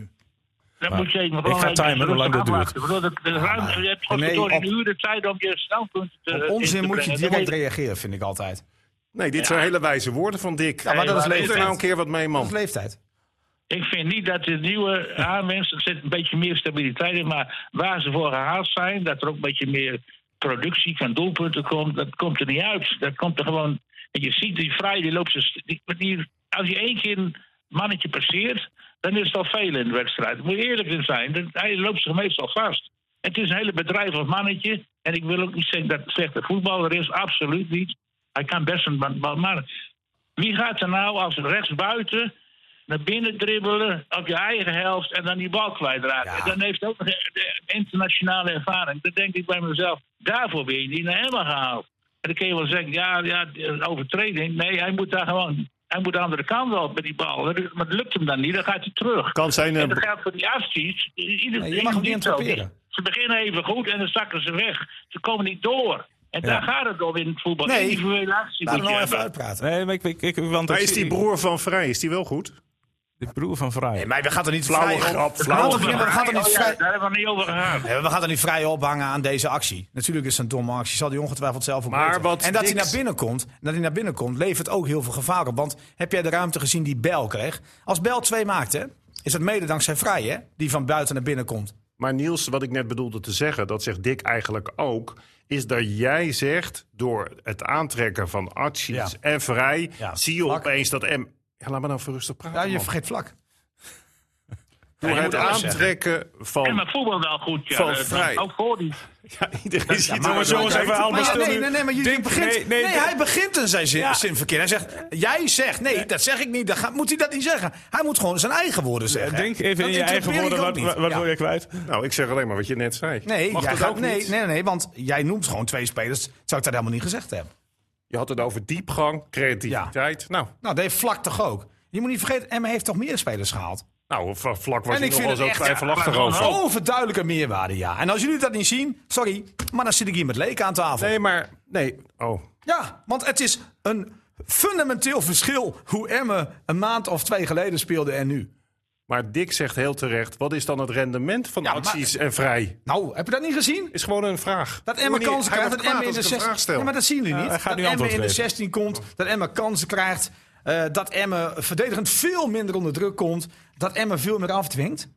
[SPEAKER 1] Dan
[SPEAKER 3] Maar
[SPEAKER 1] moet je even
[SPEAKER 3] ik
[SPEAKER 1] gewoon
[SPEAKER 3] ga
[SPEAKER 1] even
[SPEAKER 3] timen hoe
[SPEAKER 1] rustig
[SPEAKER 3] lang dat duurt.
[SPEAKER 1] afwachten. Ik bedoel, dat- dat ruimte-
[SPEAKER 6] maar-
[SPEAKER 1] Je hebt
[SPEAKER 6] nee,
[SPEAKER 1] godverdorie
[SPEAKER 6] op-
[SPEAKER 1] een uur de tijd om je standpunt te
[SPEAKER 6] Op
[SPEAKER 1] Eh, in
[SPEAKER 6] onzin
[SPEAKER 1] te
[SPEAKER 6] moet je
[SPEAKER 1] brengen.
[SPEAKER 6] direct
[SPEAKER 1] Dan
[SPEAKER 6] reageren, vind ik altijd.
[SPEAKER 5] Nee, dit zijn hele wijze woorden van Dick.
[SPEAKER 6] Ja, maar dat is
[SPEAKER 1] maar-
[SPEAKER 5] Doe er
[SPEAKER 6] leeftijd.
[SPEAKER 5] nou een keer wat mee,
[SPEAKER 6] Dat
[SPEAKER 5] man.
[SPEAKER 6] is leeftijd.
[SPEAKER 1] Ik vind niet dat de nieuwe aanwinst, er zit een beetje meer stabiliteit in, maar waar ze voor gehaald zijn, dat er ook een beetje meer productie van doelpunten komt, dat komt er niet uit. Dat komt er gewoon. En je ziet die vrij, die loopt ze. st- Die, die- als je één keer een mannetje passeert, dan is het al veel in de wedstrijd. Moet je eerlijk in zijn, dat- hij loopt zich meestal vast. Het is een hele bedrijvig mannetje. En ik wil ook niet zeggen dat het slechte voetballer is, absoluut niet. Hij kan best een. man- man- Maar wie gaat er nou als rechtsbuiten naar binnen dribbelen op je eigen helft en dan die bal kwijtraken?
[SPEAKER 6] Ja.
[SPEAKER 1] En Dan heeft hij ook nog eh, de internationale ervaring. Dan denk ik bij mezelf, daarvoor ben je die naar Emma gehaald. En dan kun je wel zeggen, ja, ja, een overtreding. Nee, hij moet daar gewoon. Hij moet de andere kant op met die bal. Maar het lukt hem dan niet, dan gaat hij terug.
[SPEAKER 5] Kan zijn eh,
[SPEAKER 1] En
[SPEAKER 5] een
[SPEAKER 1] dat geldt voor die afties. Ieder,
[SPEAKER 6] Nee, je mag hem niet
[SPEAKER 1] ieder zo.
[SPEAKER 6] interpreteren.
[SPEAKER 1] Ze beginnen even goed en dan zakken ze weg. Ze komen niet door. En daar gaat het om in het voetbal.
[SPEAKER 6] Nee.
[SPEAKER 1] Individuele actie
[SPEAKER 6] Laten
[SPEAKER 1] moet
[SPEAKER 6] we
[SPEAKER 1] je
[SPEAKER 6] nou even
[SPEAKER 1] hebben.
[SPEAKER 6] uitpraten.
[SPEAKER 3] Nee, maar ik, ik, ik, want
[SPEAKER 5] Maar
[SPEAKER 3] ik
[SPEAKER 5] is
[SPEAKER 3] zie-
[SPEAKER 5] die broer van Vrij, is die wel goed?
[SPEAKER 3] de broer van Vrij.
[SPEAKER 6] Nee, maar we gaan er niet
[SPEAKER 5] Flauwe
[SPEAKER 6] vrij op-
[SPEAKER 5] grap,
[SPEAKER 6] we
[SPEAKER 5] flauwe
[SPEAKER 6] gaan toch niet-
[SPEAKER 5] grap.
[SPEAKER 6] we gaan er niet
[SPEAKER 1] Oh ja,
[SPEAKER 6] vrij...
[SPEAKER 1] Daar hebben we niet over gegaan.
[SPEAKER 6] Nee, maar we gaan er niet vrij ophangen aan deze actie. Natuurlijk is het een domme actie. Zal die ongetwijfeld zelf ook
[SPEAKER 5] Maar
[SPEAKER 6] weten.
[SPEAKER 5] wat
[SPEAKER 6] en dat hij
[SPEAKER 5] Dix-
[SPEAKER 6] naar binnen komt, en dat hij naar binnen komt, levert ook heel veel gevaar op. Want heb jij de ruimte gezien die Bel kreeg? Als Bel twee maakt, hè, is dat mede dankzij Vrij, hè? Die van buiten naar binnen komt.
[SPEAKER 5] Maar Niels, wat ik net bedoelde te zeggen, dat zegt Dick eigenlijk ook, is dat jij zegt door het aantrekken van acties
[SPEAKER 6] Ja.
[SPEAKER 5] en Vrij,
[SPEAKER 6] Ja,
[SPEAKER 5] zie je
[SPEAKER 6] vlak.
[SPEAKER 5] opeens dat M. Ja, laat me nou even rustig praten.
[SPEAKER 6] Ja, je
[SPEAKER 5] man.
[SPEAKER 6] vergeet vlak.
[SPEAKER 5] Door
[SPEAKER 3] je
[SPEAKER 5] het
[SPEAKER 3] moet alles
[SPEAKER 5] aantrekken
[SPEAKER 1] En
[SPEAKER 5] van...
[SPEAKER 1] maar voetbal wel goed, ja.
[SPEAKER 5] Van
[SPEAKER 1] Dat-
[SPEAKER 5] Vrij.
[SPEAKER 1] Ook voor die.
[SPEAKER 5] Ja, iedereen ziet
[SPEAKER 3] maar
[SPEAKER 5] er
[SPEAKER 3] jongens,
[SPEAKER 5] zo
[SPEAKER 3] even
[SPEAKER 5] uit.
[SPEAKER 3] allemaal-
[SPEAKER 6] Maar ja,
[SPEAKER 3] stil
[SPEAKER 6] nee,
[SPEAKER 3] nu.
[SPEAKER 6] nee, nee, maar je
[SPEAKER 3] Denk-
[SPEAKER 6] begint.
[SPEAKER 3] nee,
[SPEAKER 6] Nee,
[SPEAKER 3] nee, de-
[SPEAKER 6] hij begint een zijn zin,
[SPEAKER 3] Ja.
[SPEAKER 6] zinverkeer. Hij zegt, jij zegt, nee, dat zeg ik niet. Dat gaat, moet hij dat niet zeggen? Hij moet gewoon zijn eigen woorden zeggen.
[SPEAKER 3] Denk even
[SPEAKER 6] Dat
[SPEAKER 3] in je eigen
[SPEAKER 6] interpreteer ik
[SPEAKER 3] woorden,
[SPEAKER 6] ook
[SPEAKER 3] wat,
[SPEAKER 6] niet.
[SPEAKER 3] wat, wat
[SPEAKER 6] Ja.
[SPEAKER 3] wil je kwijt?
[SPEAKER 5] Nou, ik zeg alleen maar wat je net zei.
[SPEAKER 6] Nee,
[SPEAKER 5] Mag
[SPEAKER 6] jij
[SPEAKER 5] dat
[SPEAKER 6] gaat-
[SPEAKER 5] ook
[SPEAKER 6] nee,
[SPEAKER 5] niet?
[SPEAKER 6] nee, nee, want jij noemt gewoon twee spelers. Zou ik dat helemaal niet gezegd hebben?
[SPEAKER 5] Je had het over diepgang, creativiteit. Nou,
[SPEAKER 6] Nou, dat heeft Vlak toch ook. Je moet niet vergeten, Emma heeft toch meer spelers gehaald?
[SPEAKER 5] nou, v- vlak was
[SPEAKER 6] En
[SPEAKER 5] je
[SPEAKER 6] ik
[SPEAKER 5] nog
[SPEAKER 6] vind
[SPEAKER 5] wel zo
[SPEAKER 6] het echt- Oh,
[SPEAKER 5] twijfelachtig
[SPEAKER 1] ja,
[SPEAKER 5] over.
[SPEAKER 6] Overduidelijke meerwaarde, ja. En als jullie dat niet zien, sorry, maar dan zit ik hier met Leek aan tafel.
[SPEAKER 5] Nee, maar... Nee. Oh.
[SPEAKER 6] Ja, want het is een fundamenteel verschil hoe Emmen een maand of twee geleden speelde en nu.
[SPEAKER 5] Maar Dick zegt heel terecht, wat is dan het rendement van
[SPEAKER 6] Ja, maar-
[SPEAKER 5] acties en vrij?
[SPEAKER 6] Nou, heb je dat niet gezien?
[SPEAKER 5] Is gewoon een vraag.
[SPEAKER 6] Dat Emma
[SPEAKER 5] Wanneer-
[SPEAKER 6] kansen
[SPEAKER 5] Hij
[SPEAKER 6] krijgt,
[SPEAKER 5] wordt
[SPEAKER 6] dat Emma
[SPEAKER 5] kwaad
[SPEAKER 6] in de
[SPEAKER 5] als ik een
[SPEAKER 6] 16...
[SPEAKER 5] vraag stel.
[SPEAKER 6] Ja, maar dat zien jullie
[SPEAKER 3] hij
[SPEAKER 6] niet.
[SPEAKER 3] gaat
[SPEAKER 6] Dat
[SPEAKER 3] nu
[SPEAKER 6] Emma
[SPEAKER 3] antwoord
[SPEAKER 6] in de
[SPEAKER 3] geven.
[SPEAKER 6] 16 komt, dat Emma kansen krijgt. eh, dat Emma verdedigend veel minder onder druk komt. Dat Emma veel meer afdwingt.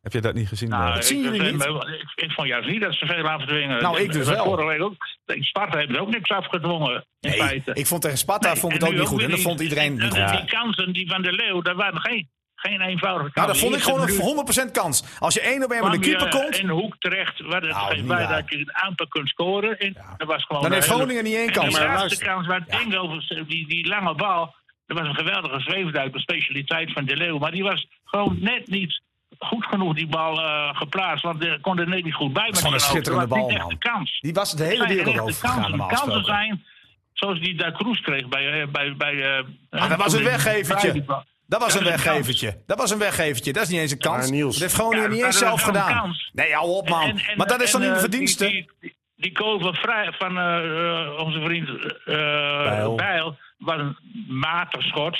[SPEAKER 3] Heb je dat niet gezien? eh?
[SPEAKER 1] Nou,
[SPEAKER 3] Bart?
[SPEAKER 6] zien
[SPEAKER 1] ik-
[SPEAKER 6] jullie
[SPEAKER 1] ik-
[SPEAKER 6] niet.
[SPEAKER 1] Ik, ik vond juist niet dat ze veel afdwingen.
[SPEAKER 6] Nou, ik dus
[SPEAKER 1] Dat
[SPEAKER 6] wel.
[SPEAKER 1] vorige week ook. Sparta heeft ook niks afgedwongen. In feite.
[SPEAKER 6] ik vond tegen Sparta
[SPEAKER 1] Nee,
[SPEAKER 6] vond ik
[SPEAKER 1] en
[SPEAKER 6] het ook
[SPEAKER 1] nu
[SPEAKER 6] niet goed.
[SPEAKER 1] weer
[SPEAKER 6] En dat vond iedereen
[SPEAKER 1] En
[SPEAKER 6] niet
[SPEAKER 1] die-
[SPEAKER 6] goed.
[SPEAKER 1] Die kansen die van de Leeuw, dat waren geen, geen eenvoudige kansen.
[SPEAKER 6] Nou, dat vond
[SPEAKER 1] Die
[SPEAKER 6] ik gewoon
[SPEAKER 1] eerste minuut
[SPEAKER 6] een 100% kans. Als je één op één met de
[SPEAKER 1] kwam je
[SPEAKER 6] keeper komt,
[SPEAKER 1] In de hoek terecht, waar het
[SPEAKER 6] Nou,
[SPEAKER 1] geen
[SPEAKER 6] niet
[SPEAKER 1] bij
[SPEAKER 6] waar.
[SPEAKER 1] dat je een aantal kunt scoren. En dat was gewoon
[SPEAKER 6] dan
[SPEAKER 1] een
[SPEAKER 6] heeft
[SPEAKER 1] hele-
[SPEAKER 6] Groningen niet één
[SPEAKER 1] En
[SPEAKER 6] kans.
[SPEAKER 1] Die laatste
[SPEAKER 6] luister.
[SPEAKER 1] kans waar Dingo, eh, die, die lange bal, dat was een geweldige zweefduik, een specialiteit van De Leeuw. Maar die was gewoon net niet goed genoeg, die bal eh, geplaatst. Want er kon er net niet goed bij. met
[SPEAKER 6] gewoon
[SPEAKER 1] die
[SPEAKER 6] een
[SPEAKER 1] auto.
[SPEAKER 6] schitterende
[SPEAKER 1] Dat was niet
[SPEAKER 6] bal,
[SPEAKER 1] echt
[SPEAKER 6] man.
[SPEAKER 1] een kans.
[SPEAKER 6] Die was de hele
[SPEAKER 1] Zijn
[SPEAKER 6] wereld
[SPEAKER 1] echte
[SPEAKER 6] overgegaan
[SPEAKER 1] kansen.
[SPEAKER 6] normaal
[SPEAKER 1] kansen
[SPEAKER 6] gesproken.
[SPEAKER 1] zijn, zoals die daar Kroes kreeg bij... eh, bij, bij eh,
[SPEAKER 6] Ah, dat was een
[SPEAKER 1] bij-
[SPEAKER 6] weggevertje.
[SPEAKER 1] Dat
[SPEAKER 6] Dat was een
[SPEAKER 1] is een
[SPEAKER 6] weggevertje. Dat was een weggevertje. Dat is niet eens een kans.
[SPEAKER 5] Maar Niels-
[SPEAKER 6] dat heeft Groningen
[SPEAKER 1] Ja,
[SPEAKER 6] niet
[SPEAKER 1] maar
[SPEAKER 6] eens
[SPEAKER 1] dat
[SPEAKER 6] zelf
[SPEAKER 1] is wel een
[SPEAKER 6] gedaan.
[SPEAKER 1] kans.
[SPEAKER 6] Nee, hou op man.
[SPEAKER 1] En- en-
[SPEAKER 6] maar dat is dan
[SPEAKER 1] en,
[SPEAKER 6] niet de
[SPEAKER 1] eh,
[SPEAKER 6] verdienste.
[SPEAKER 1] Die, die, die goal van, vrij, van eh, eh, onze vriend eh
[SPEAKER 5] Bijl.
[SPEAKER 1] Bijl. was een matig schot.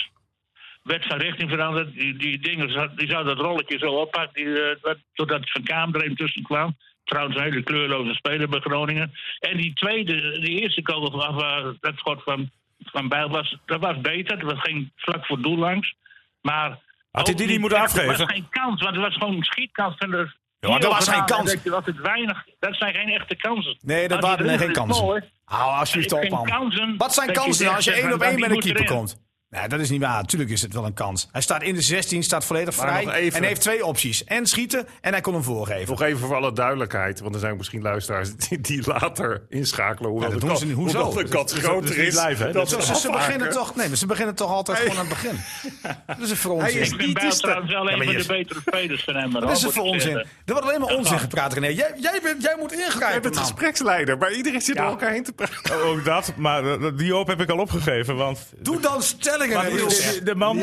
[SPEAKER 1] Werd van richting veranderd. Die, die dingen, zat- die zou dat rolletje zo oppakken. Die, eh, wat- totdat Van Kaam er even tussen kwam. Trouwens, een hele kleurloze speler bij Groningen. En die tweede, die eerste kogel, van- of, eh, dat schot van, van Bijl, was, dat was beter. Dat ging vlak voor doel langs. Maar.
[SPEAKER 3] Had hij die niet moeten
[SPEAKER 1] Er was
[SPEAKER 3] afgeven?
[SPEAKER 1] geen kans, want het was gewoon een schietkans. En er,
[SPEAKER 6] Ja, maar dat was geen kans.
[SPEAKER 1] dat je- dat, het weinig, dat zijn geen echte kansen. Nou,
[SPEAKER 6] Nee, dat
[SPEAKER 1] Als je
[SPEAKER 6] waren nee,
[SPEAKER 1] erin
[SPEAKER 6] geen
[SPEAKER 1] zit,
[SPEAKER 6] kansen.
[SPEAKER 1] mooi.
[SPEAKER 6] Hou alsjeblieft
[SPEAKER 1] Het
[SPEAKER 6] op
[SPEAKER 1] zijn
[SPEAKER 6] man.
[SPEAKER 1] kansen
[SPEAKER 6] Wat zijn
[SPEAKER 1] dat je
[SPEAKER 6] kansen
[SPEAKER 1] zegt
[SPEAKER 6] nou als je
[SPEAKER 1] van,
[SPEAKER 6] één op
[SPEAKER 1] dat
[SPEAKER 6] één
[SPEAKER 1] die
[SPEAKER 6] met een
[SPEAKER 1] moet
[SPEAKER 6] keeper
[SPEAKER 1] erin.
[SPEAKER 6] komt? Nee, dat is niet waar. Tuurlijk is het wel een kans. Hij staat in de 16, staat volledig
[SPEAKER 5] Maar nog
[SPEAKER 6] vrij
[SPEAKER 5] even.
[SPEAKER 6] en heeft twee opties. En schieten en hij kon hem voorgeven.
[SPEAKER 5] Nog even voor alle duidelijkheid, want er zijn misschien luisteraars die, die later inschakelen. Hoewel
[SPEAKER 6] Ja, dat
[SPEAKER 5] de
[SPEAKER 6] doen
[SPEAKER 5] kat-
[SPEAKER 6] ze niet. Hoezo?
[SPEAKER 5] hoewel de
[SPEAKER 6] Dat-
[SPEAKER 5] kat groter is.
[SPEAKER 3] live, hè?
[SPEAKER 5] dan
[SPEAKER 3] Dat
[SPEAKER 6] Zo, ze,
[SPEAKER 5] ze
[SPEAKER 6] ze beginnen
[SPEAKER 5] afmaken.
[SPEAKER 6] toch, nee, maar ze beginnen toch altijd gewoon aan het begin. Dat is een voor ons.
[SPEAKER 5] is
[SPEAKER 1] Ik vind Bijl trouwens wel een van de betere spelers van hem.
[SPEAKER 6] Dat is er voor onzin. Er wordt alleen maar onzin gepraat, René. Jij, jij, bent- jij moet
[SPEAKER 5] Jij
[SPEAKER 6] ingrijpen,
[SPEAKER 5] bent
[SPEAKER 6] man.
[SPEAKER 5] gespreksleider, maar iedereen zit door elkaar heen te praten.
[SPEAKER 3] Oh, Ook dat, maar eh, die hoop heb ik al opgegeven. Want
[SPEAKER 6] Doe dan stellingen.
[SPEAKER 3] Maar
[SPEAKER 6] hebben
[SPEAKER 3] Niels,
[SPEAKER 6] we gezegd.
[SPEAKER 3] de man,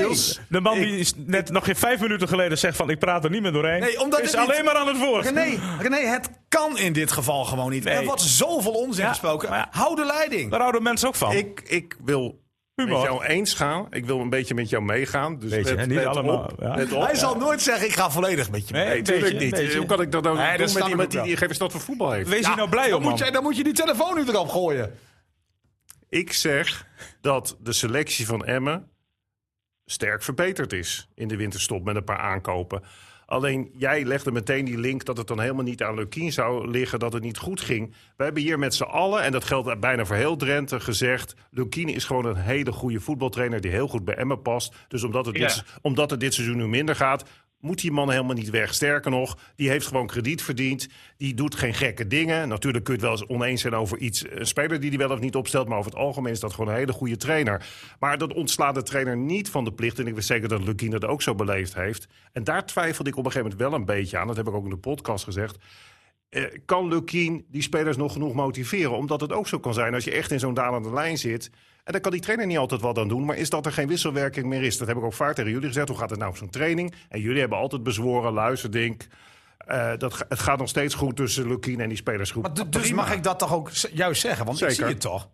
[SPEAKER 3] de man die is net nog geen vijf minuten geleden zegt van ik praat er niet meer doorheen,
[SPEAKER 6] Nee, omdat
[SPEAKER 3] is
[SPEAKER 6] het niet-
[SPEAKER 3] alleen maar aan het woord.
[SPEAKER 6] René, René, het kan in dit geval gewoon niet. Er wordt zoveel onzin
[SPEAKER 3] Ja,
[SPEAKER 6] gesproken.
[SPEAKER 3] maar ja.
[SPEAKER 6] Hou de leiding.
[SPEAKER 3] Daar houden mensen ook van.
[SPEAKER 5] Ik, ik wil
[SPEAKER 3] Humor.
[SPEAKER 5] met jou eens gaan. Ik wil een beetje met jou meegaan. Dus
[SPEAKER 3] Beetje,
[SPEAKER 5] let-
[SPEAKER 3] hè? Niet
[SPEAKER 5] let
[SPEAKER 3] allemaal,
[SPEAKER 5] Op,
[SPEAKER 3] ja.
[SPEAKER 5] Let op.
[SPEAKER 6] Hij zal nooit zeggen, ik ga volledig met je mee.
[SPEAKER 3] Nee,
[SPEAKER 5] Nee,
[SPEAKER 3] een
[SPEAKER 5] natuurlijk
[SPEAKER 3] beetje,
[SPEAKER 5] niet.
[SPEAKER 3] een beetje.
[SPEAKER 5] Hoe kan ik dat nou
[SPEAKER 6] Nee, dat
[SPEAKER 5] doen
[SPEAKER 6] snap
[SPEAKER 5] met
[SPEAKER 6] ik
[SPEAKER 5] iemand
[SPEAKER 6] ook
[SPEAKER 5] die,
[SPEAKER 6] wel.
[SPEAKER 5] die geen verstand van voetbal heeft?
[SPEAKER 3] Wees
[SPEAKER 6] Ja,
[SPEAKER 3] hier nou blij
[SPEAKER 6] dan
[SPEAKER 3] om, man.
[SPEAKER 6] moet, jij, dan moet je die telefoon nu erop gooien.
[SPEAKER 5] Ik zeg dat de selectie van Emmen sterk verbeterd is in de winterstop met een paar aankopen. Alleen jij legde meteen die link dat het dan helemaal niet aan Lukien zou liggen, dat het niet goed ging. We hebben hier met z'n allen, en dat geldt bijna voor heel Drenthe, gezegd: Lukien is gewoon een hele goede voetbaltrainer die heel goed bij Emmen past. Dus omdat het,
[SPEAKER 1] Ja.
[SPEAKER 5] dit, omdat het dit seizoen nu minder gaat, moet die man helemaal niet weg. Sterker nog, die heeft gewoon krediet verdiend. Die doet geen gekke dingen. Natuurlijk kun je het wel eens oneens zijn over iets. eh, Een speler die die wel of niet opstelt. Maar over het algemeen is dat gewoon een hele goede trainer. Maar dat ontslaat de trainer niet van de plicht. En ik weet zeker dat Lukien dat ook zo beleefd heeft. En daar twijfelde ik op een gegeven moment wel een beetje aan. Dat heb ik ook in de podcast gezegd. Eh, kan Lukien die spelers nog genoeg motiveren? Omdat het ook zo kan zijn als je echt in zo'n dalende lijn zit. En daar kan die trainer niet altijd wat aan doen. Maar is dat er geen wisselwerking meer is? Dat heb ik ook vaak tegen jullie gezegd. Hoe gaat het nou op zo'n training? En jullie hebben altijd bezworen, luister, Dink. eh, dat, ga- het gaat nog steeds goed tussen Lukien en die spelersgroep.
[SPEAKER 6] Maar du-
[SPEAKER 5] Ah,
[SPEAKER 6] dus
[SPEAKER 5] prima.
[SPEAKER 6] mag ik dat toch ook z- juist zeggen? Want ik
[SPEAKER 5] Zeker.
[SPEAKER 6] zie het toch.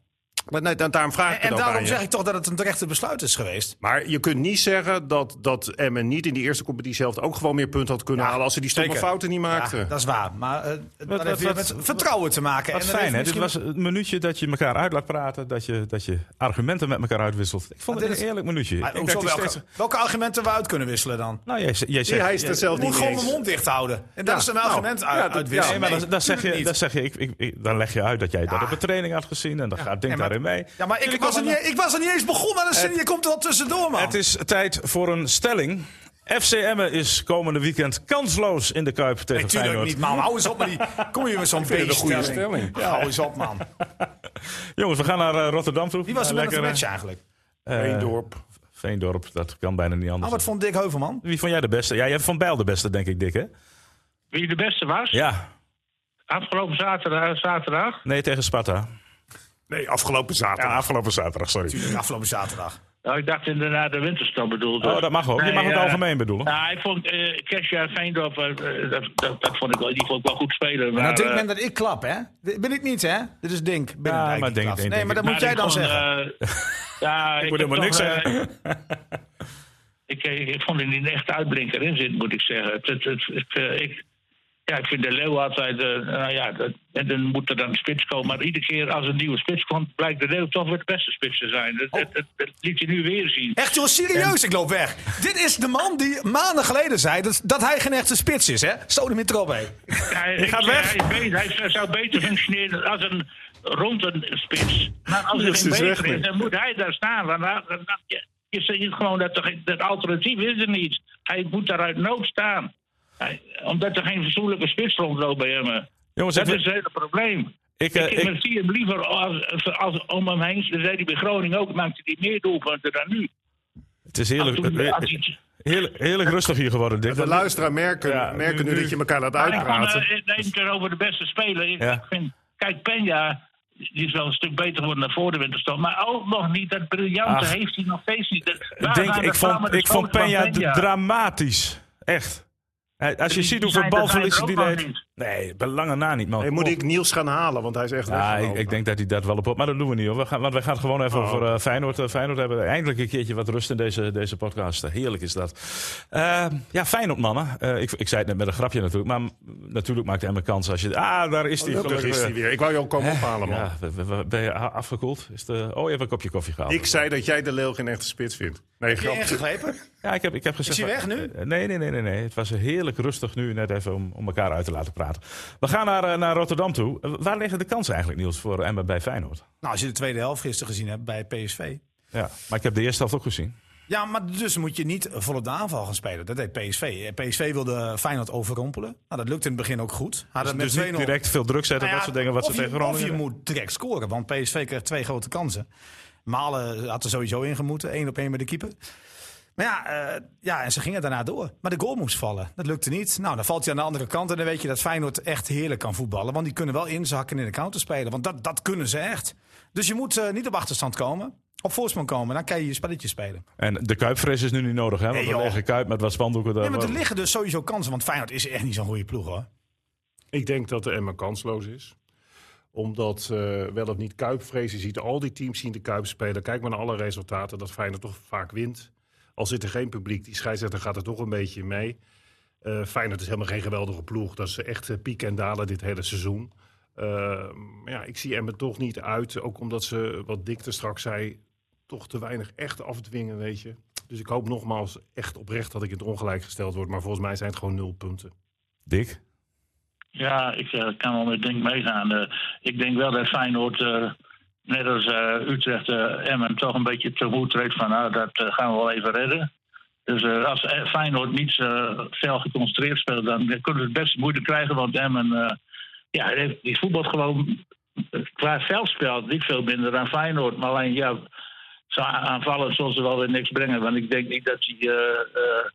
[SPEAKER 5] Maar nee, dan- daarom vraag ik het
[SPEAKER 6] En
[SPEAKER 5] ook aan
[SPEAKER 6] daarom
[SPEAKER 5] je.
[SPEAKER 6] zeg ik toch dat het een terechte besluit is geweest.
[SPEAKER 5] Maar je kunt niet zeggen dat, dat Emmen niet in die eerste competitie zelf ook gewoon meer punten had kunnen halen als ze die stomme
[SPEAKER 6] zeker.
[SPEAKER 5] fouten niet maakten.
[SPEAKER 6] Ja, dat is waar. Maar eh, dat
[SPEAKER 3] wat-
[SPEAKER 6] heeft weer
[SPEAKER 3] wat-
[SPEAKER 6] met vertrouwen te maken.
[SPEAKER 3] Wat
[SPEAKER 6] En dat
[SPEAKER 3] fijn, hè?
[SPEAKER 6] heeft
[SPEAKER 3] Dit was
[SPEAKER 6] misschien-
[SPEAKER 3] het minuutje dat je elkaar uit laat praten. Dat je, dat je argumenten met elkaar uitwisselt. Ik vond
[SPEAKER 6] Maar
[SPEAKER 3] het een
[SPEAKER 6] dit is-
[SPEAKER 3] eerlijk minuutje.
[SPEAKER 6] Maar
[SPEAKER 3] Ik
[SPEAKER 6] hoezo
[SPEAKER 3] dacht, ik
[SPEAKER 6] welke,
[SPEAKER 3] steeds-
[SPEAKER 6] welke argumenten we uit kunnen wisselen dan?
[SPEAKER 3] Nou, jij, z- jij
[SPEAKER 5] Die
[SPEAKER 3] zegt...
[SPEAKER 5] hij is er zelf
[SPEAKER 6] Ik
[SPEAKER 5] niet
[SPEAKER 6] moet
[SPEAKER 5] mee
[SPEAKER 6] gewoon mijn
[SPEAKER 5] eens.
[SPEAKER 6] mond dicht houden. En dat
[SPEAKER 5] Ja,
[SPEAKER 6] is een argument
[SPEAKER 5] nou, ja,
[SPEAKER 6] uit,
[SPEAKER 5] dat-
[SPEAKER 6] uitwisselen.
[SPEAKER 3] Nee, maar dan, dan zeg je,
[SPEAKER 6] tuurlijk
[SPEAKER 3] dan,
[SPEAKER 6] niet.
[SPEAKER 3] zeg je ik, ik, ik- dan leg je uit dat jij dat op een training had gezien. En dan gaat Dink
[SPEAKER 6] Nee, maar-
[SPEAKER 3] daarin mee.
[SPEAKER 6] Ja, maar ik
[SPEAKER 3] Jullie
[SPEAKER 6] was, er
[SPEAKER 3] komen-
[SPEAKER 6] niet, ik was er niet eens begonnen aan de zin. Je komt er al tussendoor, man.
[SPEAKER 3] Het is tijd voor een stelling. FC Emmen is komende weekend kansloos in de Kuip tegen
[SPEAKER 6] Natuurlijk
[SPEAKER 3] Feyenoord.
[SPEAKER 6] niet, man. Hou eens op met die. Kom je met zo'n
[SPEAKER 9] vind het een goede
[SPEAKER 6] beeststelling.
[SPEAKER 9] stelling.
[SPEAKER 6] Ja, hou eens op, man.
[SPEAKER 3] Jongens, we gaan naar eh, Rotterdam toe.
[SPEAKER 6] Wie was er
[SPEAKER 3] Eh,
[SPEAKER 6] met het
[SPEAKER 3] lekker,
[SPEAKER 6] match eigenlijk?
[SPEAKER 3] eh,
[SPEAKER 5] Veendorp.
[SPEAKER 3] Veendorp, dat kan bijna niet
[SPEAKER 6] Ah,
[SPEAKER 3] anders.
[SPEAKER 6] wat vond Dick Heuvelman?
[SPEAKER 3] Wie vond jij de beste? Ja, jij hebt Van Bijl de beste, denk ik, Dick, hè?
[SPEAKER 1] Wie de beste was?
[SPEAKER 3] Ja.
[SPEAKER 1] Afgelopen zaterdag, eh, zaterdag.
[SPEAKER 3] Nee, tegen Sparta.
[SPEAKER 5] Nee, afgelopen
[SPEAKER 1] Ah,
[SPEAKER 5] zaterdag.
[SPEAKER 3] Ja, afgelopen zaterdag, sorry.
[SPEAKER 6] Natuurlijk, afgelopen zaterdag.
[SPEAKER 1] Nou, ik dacht inderdaad de winterstop bedoelde.
[SPEAKER 3] Oh, dat mag ook. Je
[SPEAKER 1] Nee,
[SPEAKER 3] mag het
[SPEAKER 1] eh,
[SPEAKER 3] algemeen bedoelen.
[SPEAKER 1] Nou, ik vond eh Kesja Veendorp, eh, eh, dat, dat, dat vond ik wel, die vond ik wel goed spelen. Maar,
[SPEAKER 6] Nou, Dink
[SPEAKER 1] eh,
[SPEAKER 6] men dat ik klap, hè? Dit ben ik niet, hè? Dit is Dink. Ben
[SPEAKER 3] Ja,
[SPEAKER 6] ik
[SPEAKER 3] maar
[SPEAKER 6] niet
[SPEAKER 3] Dink-
[SPEAKER 6] klapt.
[SPEAKER 3] Dink-
[SPEAKER 6] Nee,
[SPEAKER 3] Dink- eh,
[SPEAKER 6] maar dat moet jij dan zeggen.
[SPEAKER 1] zeggen. eh, ja, ik,
[SPEAKER 3] moet
[SPEAKER 1] heb
[SPEAKER 3] helemaal
[SPEAKER 1] toch,
[SPEAKER 3] niks
[SPEAKER 1] eh, ik, eh, ik, ik vond er niet echt uitblinker in zit, moet ik zeggen. Het, het, het, het, eh, ik, ja, ik vind de Leeuw altijd. eh, nou ja, dat, en dan moet er dan een spits komen. Maar iedere keer als een nieuwe spits komt, blijkt de Leeuw toch weer de beste spits te zijn.
[SPEAKER 6] Oh.
[SPEAKER 1] Dat, dat, dat- dat liet je nu weer zien.
[SPEAKER 6] Echt joh, serieus, ik loop weg. Dit is de man die maanden geleden zei dat, dat hij geen echte spits is, hè? Zo de erop, hé.
[SPEAKER 1] Hij, ik
[SPEAKER 3] gaat
[SPEAKER 1] zeg,
[SPEAKER 3] weg.
[SPEAKER 1] Hij, is beter, hij zou- zou beter functioneren als een rond een spits. Maar als er
[SPEAKER 5] Dat
[SPEAKER 1] geen
[SPEAKER 5] is echt
[SPEAKER 1] beter is,
[SPEAKER 5] niet.
[SPEAKER 1] dan moet hij daar staan. Want dan- dan- dan- je, je ziet gewoon dat er, geen- dat alternatief is er niet. Hij moet daar uit nood staan. Hij- omdat er geen fatsoenlijke spits rondloopt bij hem.
[SPEAKER 3] Jongens,
[SPEAKER 1] Dat
[SPEAKER 3] even,
[SPEAKER 1] is het hele probleem.
[SPEAKER 3] ik, eh,
[SPEAKER 1] Ik,
[SPEAKER 3] ik,
[SPEAKER 1] zie hem liever als, als om hem heen. Dat zei hij bij Groningen ook. Maakte hij meer doelpunten dan nu.
[SPEAKER 3] het is heerlijk,
[SPEAKER 1] Ah, Toen-
[SPEAKER 3] eh,
[SPEAKER 1] als hij-
[SPEAKER 3] heerlijk, heerlijk rustig hier geworden, Dick.
[SPEAKER 5] De luisteraar merken,
[SPEAKER 3] Ja,
[SPEAKER 5] merken nu,
[SPEAKER 3] nu-
[SPEAKER 5] dat je elkaar laat
[SPEAKER 1] Maar ik vond,
[SPEAKER 5] uitpraten.
[SPEAKER 1] eh, het neemt er over de beste speler. Ik
[SPEAKER 3] Dus- Ja.
[SPEAKER 1] vind, kijk, Penja die is wel een stuk beter geworden dan voor de winterstop. Maar ook nog niet, dat briljante
[SPEAKER 3] Ach.
[SPEAKER 1] heeft hij nog steeds niet. Dat- waar
[SPEAKER 3] Denk,
[SPEAKER 1] gaan de
[SPEAKER 3] ik vond,
[SPEAKER 1] vlammen
[SPEAKER 3] ik vond
[SPEAKER 1] schoten van
[SPEAKER 3] Peña d- dramatisch. Echt. Hij- Als je
[SPEAKER 1] Die-
[SPEAKER 3] ziet
[SPEAKER 1] die
[SPEAKER 3] hoeveel
[SPEAKER 1] zijn er-
[SPEAKER 3] balverliezen die
[SPEAKER 1] zijn er ook
[SPEAKER 3] deed.
[SPEAKER 1] nog
[SPEAKER 3] Nee, bij lange na niet, man.
[SPEAKER 5] Hey, moet ik Niels gaan halen, want hij is echt
[SPEAKER 3] ja, ik,
[SPEAKER 5] weggelopen.
[SPEAKER 3] ik denk dat hij dat wel op... Maar dat doen we niet, hoor. We gaan, want wij gaan het gewoon even
[SPEAKER 5] Oh.
[SPEAKER 3] over eh, Feyenoord, eh, Feyenoord hebben. Eindelijk een keertje wat rust in deze, deze podcast. Heerlijk is dat. Eh, ja, Feyenoord, mannen. Eh, ik, ik zei het net met een grapje natuurlijk. Maar m- natuurlijk maakt Emma kans als je... Ah, daar is hij.
[SPEAKER 5] Gelukkig
[SPEAKER 3] gelukkig
[SPEAKER 5] Oh, is hij
[SPEAKER 3] weer.
[SPEAKER 5] weer. Ik wou je ook komen ophalen, man.
[SPEAKER 3] Ja, we- we- we- ben je a- afgekoeld? Is de... Oh, je hebt een kopje koffie gehaald.
[SPEAKER 5] Ik zei dat jij de Leeuw geen echte spits vindt. Nee,
[SPEAKER 6] Heb je
[SPEAKER 5] grapje.
[SPEAKER 6] ingegrepen?
[SPEAKER 3] Ja, ik heb, ik heb gezegd...
[SPEAKER 6] hij weg nu?
[SPEAKER 3] Eh, Nee, nee, nee, nee, nee. Het was heerlijk rustig nu net even om, om elkaar uit te laten praten. We gaan naar, eh, naar Rotterdam toe. Eh, Waar liggen de kansen eigenlijk, Niels, voor Emma bij Feyenoord?
[SPEAKER 6] Nou, als je de tweede helft gisteren gezien hebt bij PSV.
[SPEAKER 3] Ja, maar ik heb de eerste helft ook gezien.
[SPEAKER 6] Ja, maar dus moet je niet vol op de aanval gaan spelen. Dat deed PSV. Eh, PSV wilde Feyenoord overrompelen. Nou, dat lukte in het begin ook goed. Hadden
[SPEAKER 3] Dus
[SPEAKER 6] met
[SPEAKER 3] niet
[SPEAKER 6] 2-0
[SPEAKER 3] direct veel druk zetten,
[SPEAKER 6] Nou
[SPEAKER 3] dat
[SPEAKER 6] ja,
[SPEAKER 3] soort dingen wat ze
[SPEAKER 6] of je-
[SPEAKER 3] tegen Groningen
[SPEAKER 6] Of je
[SPEAKER 3] hebben.
[SPEAKER 6] moet direct scoren, want PSV kreeg twee grote kansen. Malen had er sowieso ingemoeten, één op één met de keeper. Maar ja, eh, ja, en ze gingen daarna door. Maar de goal moest vallen. Dat lukte niet. Nou, dan valt hij aan de andere kant. En dan weet je dat Feyenoord echt heerlijk kan voetballen. Want die kunnen wel inzakken in de counter spelen. Want dat, dat kunnen ze echt. Dus je moet eh, niet op achterstand komen. Op voorsprong komen. Dan kan je je spelletje spelen.
[SPEAKER 3] En de Kuipfres is nu niet nodig, hè? Want
[SPEAKER 6] Nee,
[SPEAKER 3] een
[SPEAKER 6] joh.
[SPEAKER 3] lege Kuip met wat spandoeken.
[SPEAKER 6] Nee,
[SPEAKER 3] daar.
[SPEAKER 6] maar er liggen dus sowieso kansen. Want Feyenoord is echt niet zo'n goede ploeg, hoor.
[SPEAKER 5] Ik denk dat de Emma kansloos is. Omdat eh, wel of niet Kuipvrees, je ziet al die teams zien de Kuip spelen. Kijk maar naar alle resultaten, dat Feyenoord toch vaak wint. Al zit er geen publiek, die scheidsrechter gaat er toch een beetje in mee. Eh Feyenoord is helemaal geen geweldige ploeg. Dat is echt eh, piek en dalen dit hele seizoen. Eh, maar ja, ik zie Emma toch niet uit. Ook omdat ze, wat Dick er straks zei, toch te weinig echt afdwingen, weet je. Dus ik hoop nogmaals echt oprecht dat ik in het ongelijk gesteld word. Maar volgens mij zijn het gewoon nul punten.
[SPEAKER 3] Dick?
[SPEAKER 1] Ja, ik eh, kan wel met Dink meegaan. Eh, ik denk wel dat Feyenoord, eh, net als eh, Utrecht, eh, Emmen, toch een beetje te moe treedt van nou, dat eh, gaan we wel even redden. Dus eh, als eh, Feyenoord niet eh fel geconcentreerd speelt, dan kunnen we het best moeite krijgen. Want Emmen, eh, ja, heeft- die voetbalt gewoon eh, qua veldspel niet veel minder dan Feyenoord. Maar alleen, ja, zo a- aanvallen zullen ze wel weer niks brengen. Want ik denk niet dat die... eh, eh,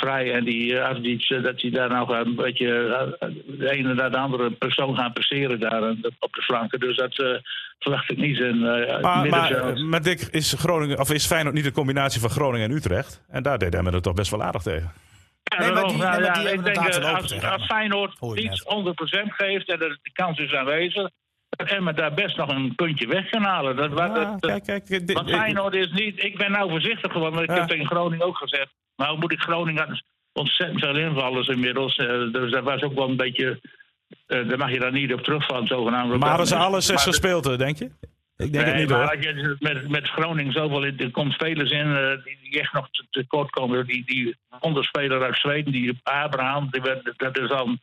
[SPEAKER 1] Vrij en die eh, Afdiets, eh, dat die daar nou een beetje eh, de ene naar de andere persoon gaan passeren daar eh, op de flanken. Dus dat eh, verwacht ik niet. En, eh, het
[SPEAKER 3] Maar,
[SPEAKER 1] midden
[SPEAKER 3] maar,
[SPEAKER 1] zelfs.
[SPEAKER 3] maar Dick, is, Groningen, of is Feyenoord niet een combinatie van Groningen en Utrecht? En daar deed Emmen er toch best wel aardig tegen.
[SPEAKER 1] Ja,
[SPEAKER 6] Nee, maar
[SPEAKER 1] daarom.
[SPEAKER 6] die-
[SPEAKER 1] Nou
[SPEAKER 6] nee, maar die
[SPEAKER 1] ja,
[SPEAKER 6] hebben
[SPEAKER 1] ik denk,
[SPEAKER 6] inderdaad
[SPEAKER 1] eh,
[SPEAKER 6] wel
[SPEAKER 1] als,
[SPEAKER 6] opgetreden.
[SPEAKER 1] als Feyenoord
[SPEAKER 6] Hoor je
[SPEAKER 1] niet 100% geeft en er- de kans is aanwezig, dat Emmen daar best nog een puntje weg kan halen. Dat, dat,
[SPEAKER 3] Ah,
[SPEAKER 1] dat-
[SPEAKER 3] kijk, kijk. Dick,
[SPEAKER 1] want
[SPEAKER 3] Dick-
[SPEAKER 1] Feyenoord is niet... Ik ben nou voorzichtig geworden, want ik
[SPEAKER 3] Ja.
[SPEAKER 1] heb tegen Groningen ook gezegd. Maar hoe moet ik Groningen had ontzettend veel invallers inmiddels. eh, dus dat was ook wel een beetje... eh, daar mag je dan niet op terugvallen, zogenaamd.
[SPEAKER 3] maar hadden ze alle zes
[SPEAKER 1] Maar-
[SPEAKER 3] gespeeld, eh, denk je? Ik denk het
[SPEAKER 1] Nee,
[SPEAKER 3] niet,
[SPEAKER 1] maar
[SPEAKER 3] hoor.
[SPEAKER 1] als je dus met, met Groningen zoveel in, er komt spelers in eh, die, die echt nog te- tekort komen. Die, die onderspeler uit Zweden, die Abraham, die werd, dat is al een